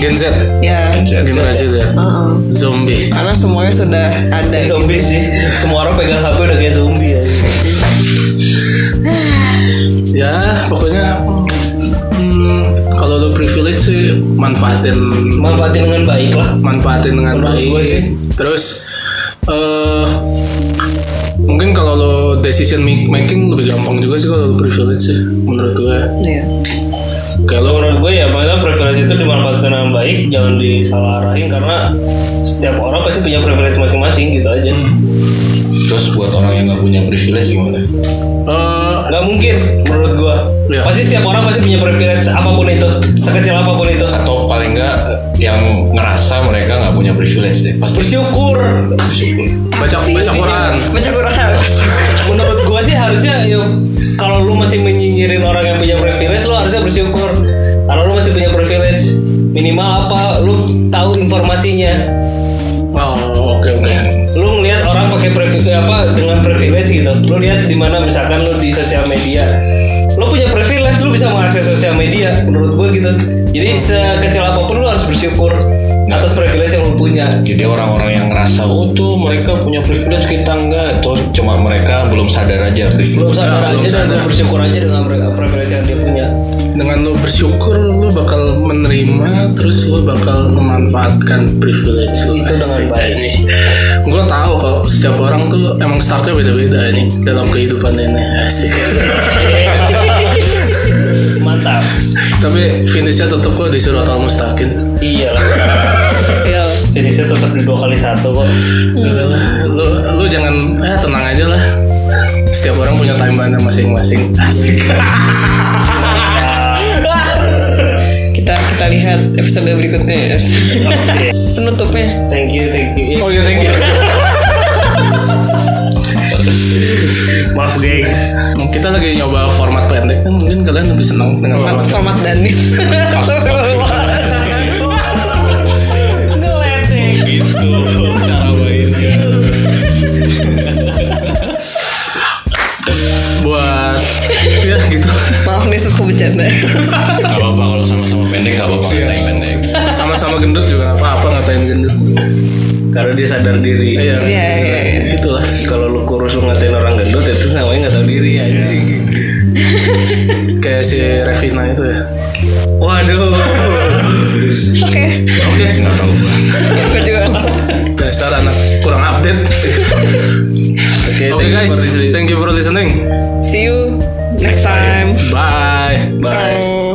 S1: Gen Z
S2: Ya.
S3: Gen Z
S1: generasi itu ya
S2: Heeh.
S1: zombie
S2: Karena semuanya sudah ada.
S4: zombie sih. Semua orang pegang HP udah kayak zombie ya.
S1: ya pokoknya hmm, kalau lu privilege sih manfaatin
S4: Manfaatin dengan baik lah.
S1: manfaatin dengan
S4: Menurut
S1: baik
S4: gua sih.
S1: terus eh mungkin kalau lo decision make- making lebih gampang juga sih kalau lo privilege sih menurut gue
S2: Iya.
S1: kayak lo
S4: Kalau menurut gue ya maksudnya privilege itu dimanfaatkan dengan baik, jangan disalaharahin karena setiap orang pasti punya privilege masing-masing gitu aja.
S3: terus buat orang yang nggak punya privilege gimana
S1: eh,
S4: Gak mungkin menurut gue.
S1: Iya.
S4: Pasti setiap orang pasti punya privilege apapun itu, sekecil apapun itu.
S3: atau paling nggak yang ngerasa mereka nggak punya privilege deh pasti
S4: Bersyukur.
S3: bersyukur
S1: baca baca Quran
S4: Baca Quran. Menurut gua sih harusnya ya kalau lu masih menyinyirin orang yang punya privilege lu harusnya bersyukur. Karena lu masih punya privilege. Minimal apa lu tahu informasinya.
S1: oh oke oke
S4: Lu ngelihat orang pakai privilege apa dengan privilege gitu. Lu lihat di mana misalkan lu di sosial media. Lu punya privilege lu bisa mengakses sosial media menurut gua gitu. Jadi sekecil apapun lu harus bersyukur atas privilege yang lu punya.
S3: Jadi orang-orang yang ngerasa oh tuh mereka punya privilege kita enggak itu cuma mereka belum sadar aja
S4: Belum
S3: privilege.
S1: Ya,
S4: sadar
S1: belum
S4: aja dan
S1: sadar.
S4: lu bersyukur aja dengan privilege yang dia punya.
S1: dengan lo bersyukur lo bakal menerima terus lo bakal memanfaatkan privilege lo
S4: Itu dengan baik.
S1: gue tahu kalau setiap orang tuh emang startnya beda-beda nih dalam kehidupan ini asik
S4: Mantap mantap
S1: Tapi finishnya tetep kok disuruh atau mustaqim.
S4: iya lah iya lah. jenisnya tetap di dua kali satu kok
S1: Lu lu jangan eh tenang aja lah. Setiap orang punya timeline masing-masing. Asik.
S4: Ah,
S2: kita kita lihat episode berikutnya ya.
S4: Oke.
S2: penutupnya
S4: thank you thank you
S1: Oh iya, thank you.
S4: maaf guys
S1: Kita lagi nyoba format pendek kan mungkin kalian lebih senang dengan
S2: format
S1: format
S2: format danis Ngeledek.
S3: gitu cara mainnya
S1: buat ya gitu
S2: maaf nih suka bercanda
S3: Gak apa-apa kalau sama-sama pendek gak apa-apa ngatain pendek
S1: sama-sama gendut juga nggak apa-apa ngatain gendut
S4: karena dia sadar diri
S1: iya
S2: Iya, iya, iya.
S1: gitulah
S4: kalau lu kurus lu ngatain orang gendut itu namanya nggak tahu diri anjing
S1: kayak si Revina itu ya
S4: waduh
S2: oke
S1: oke
S3: Gak tau gue
S2: aku juga nggak tahu.
S1: dasar anak kurang update
S4: oke
S1: oke
S4: thank you
S1: guys
S4: for listening.
S1: thank you for listening
S2: see you next time
S1: bye bye
S2: Ciao.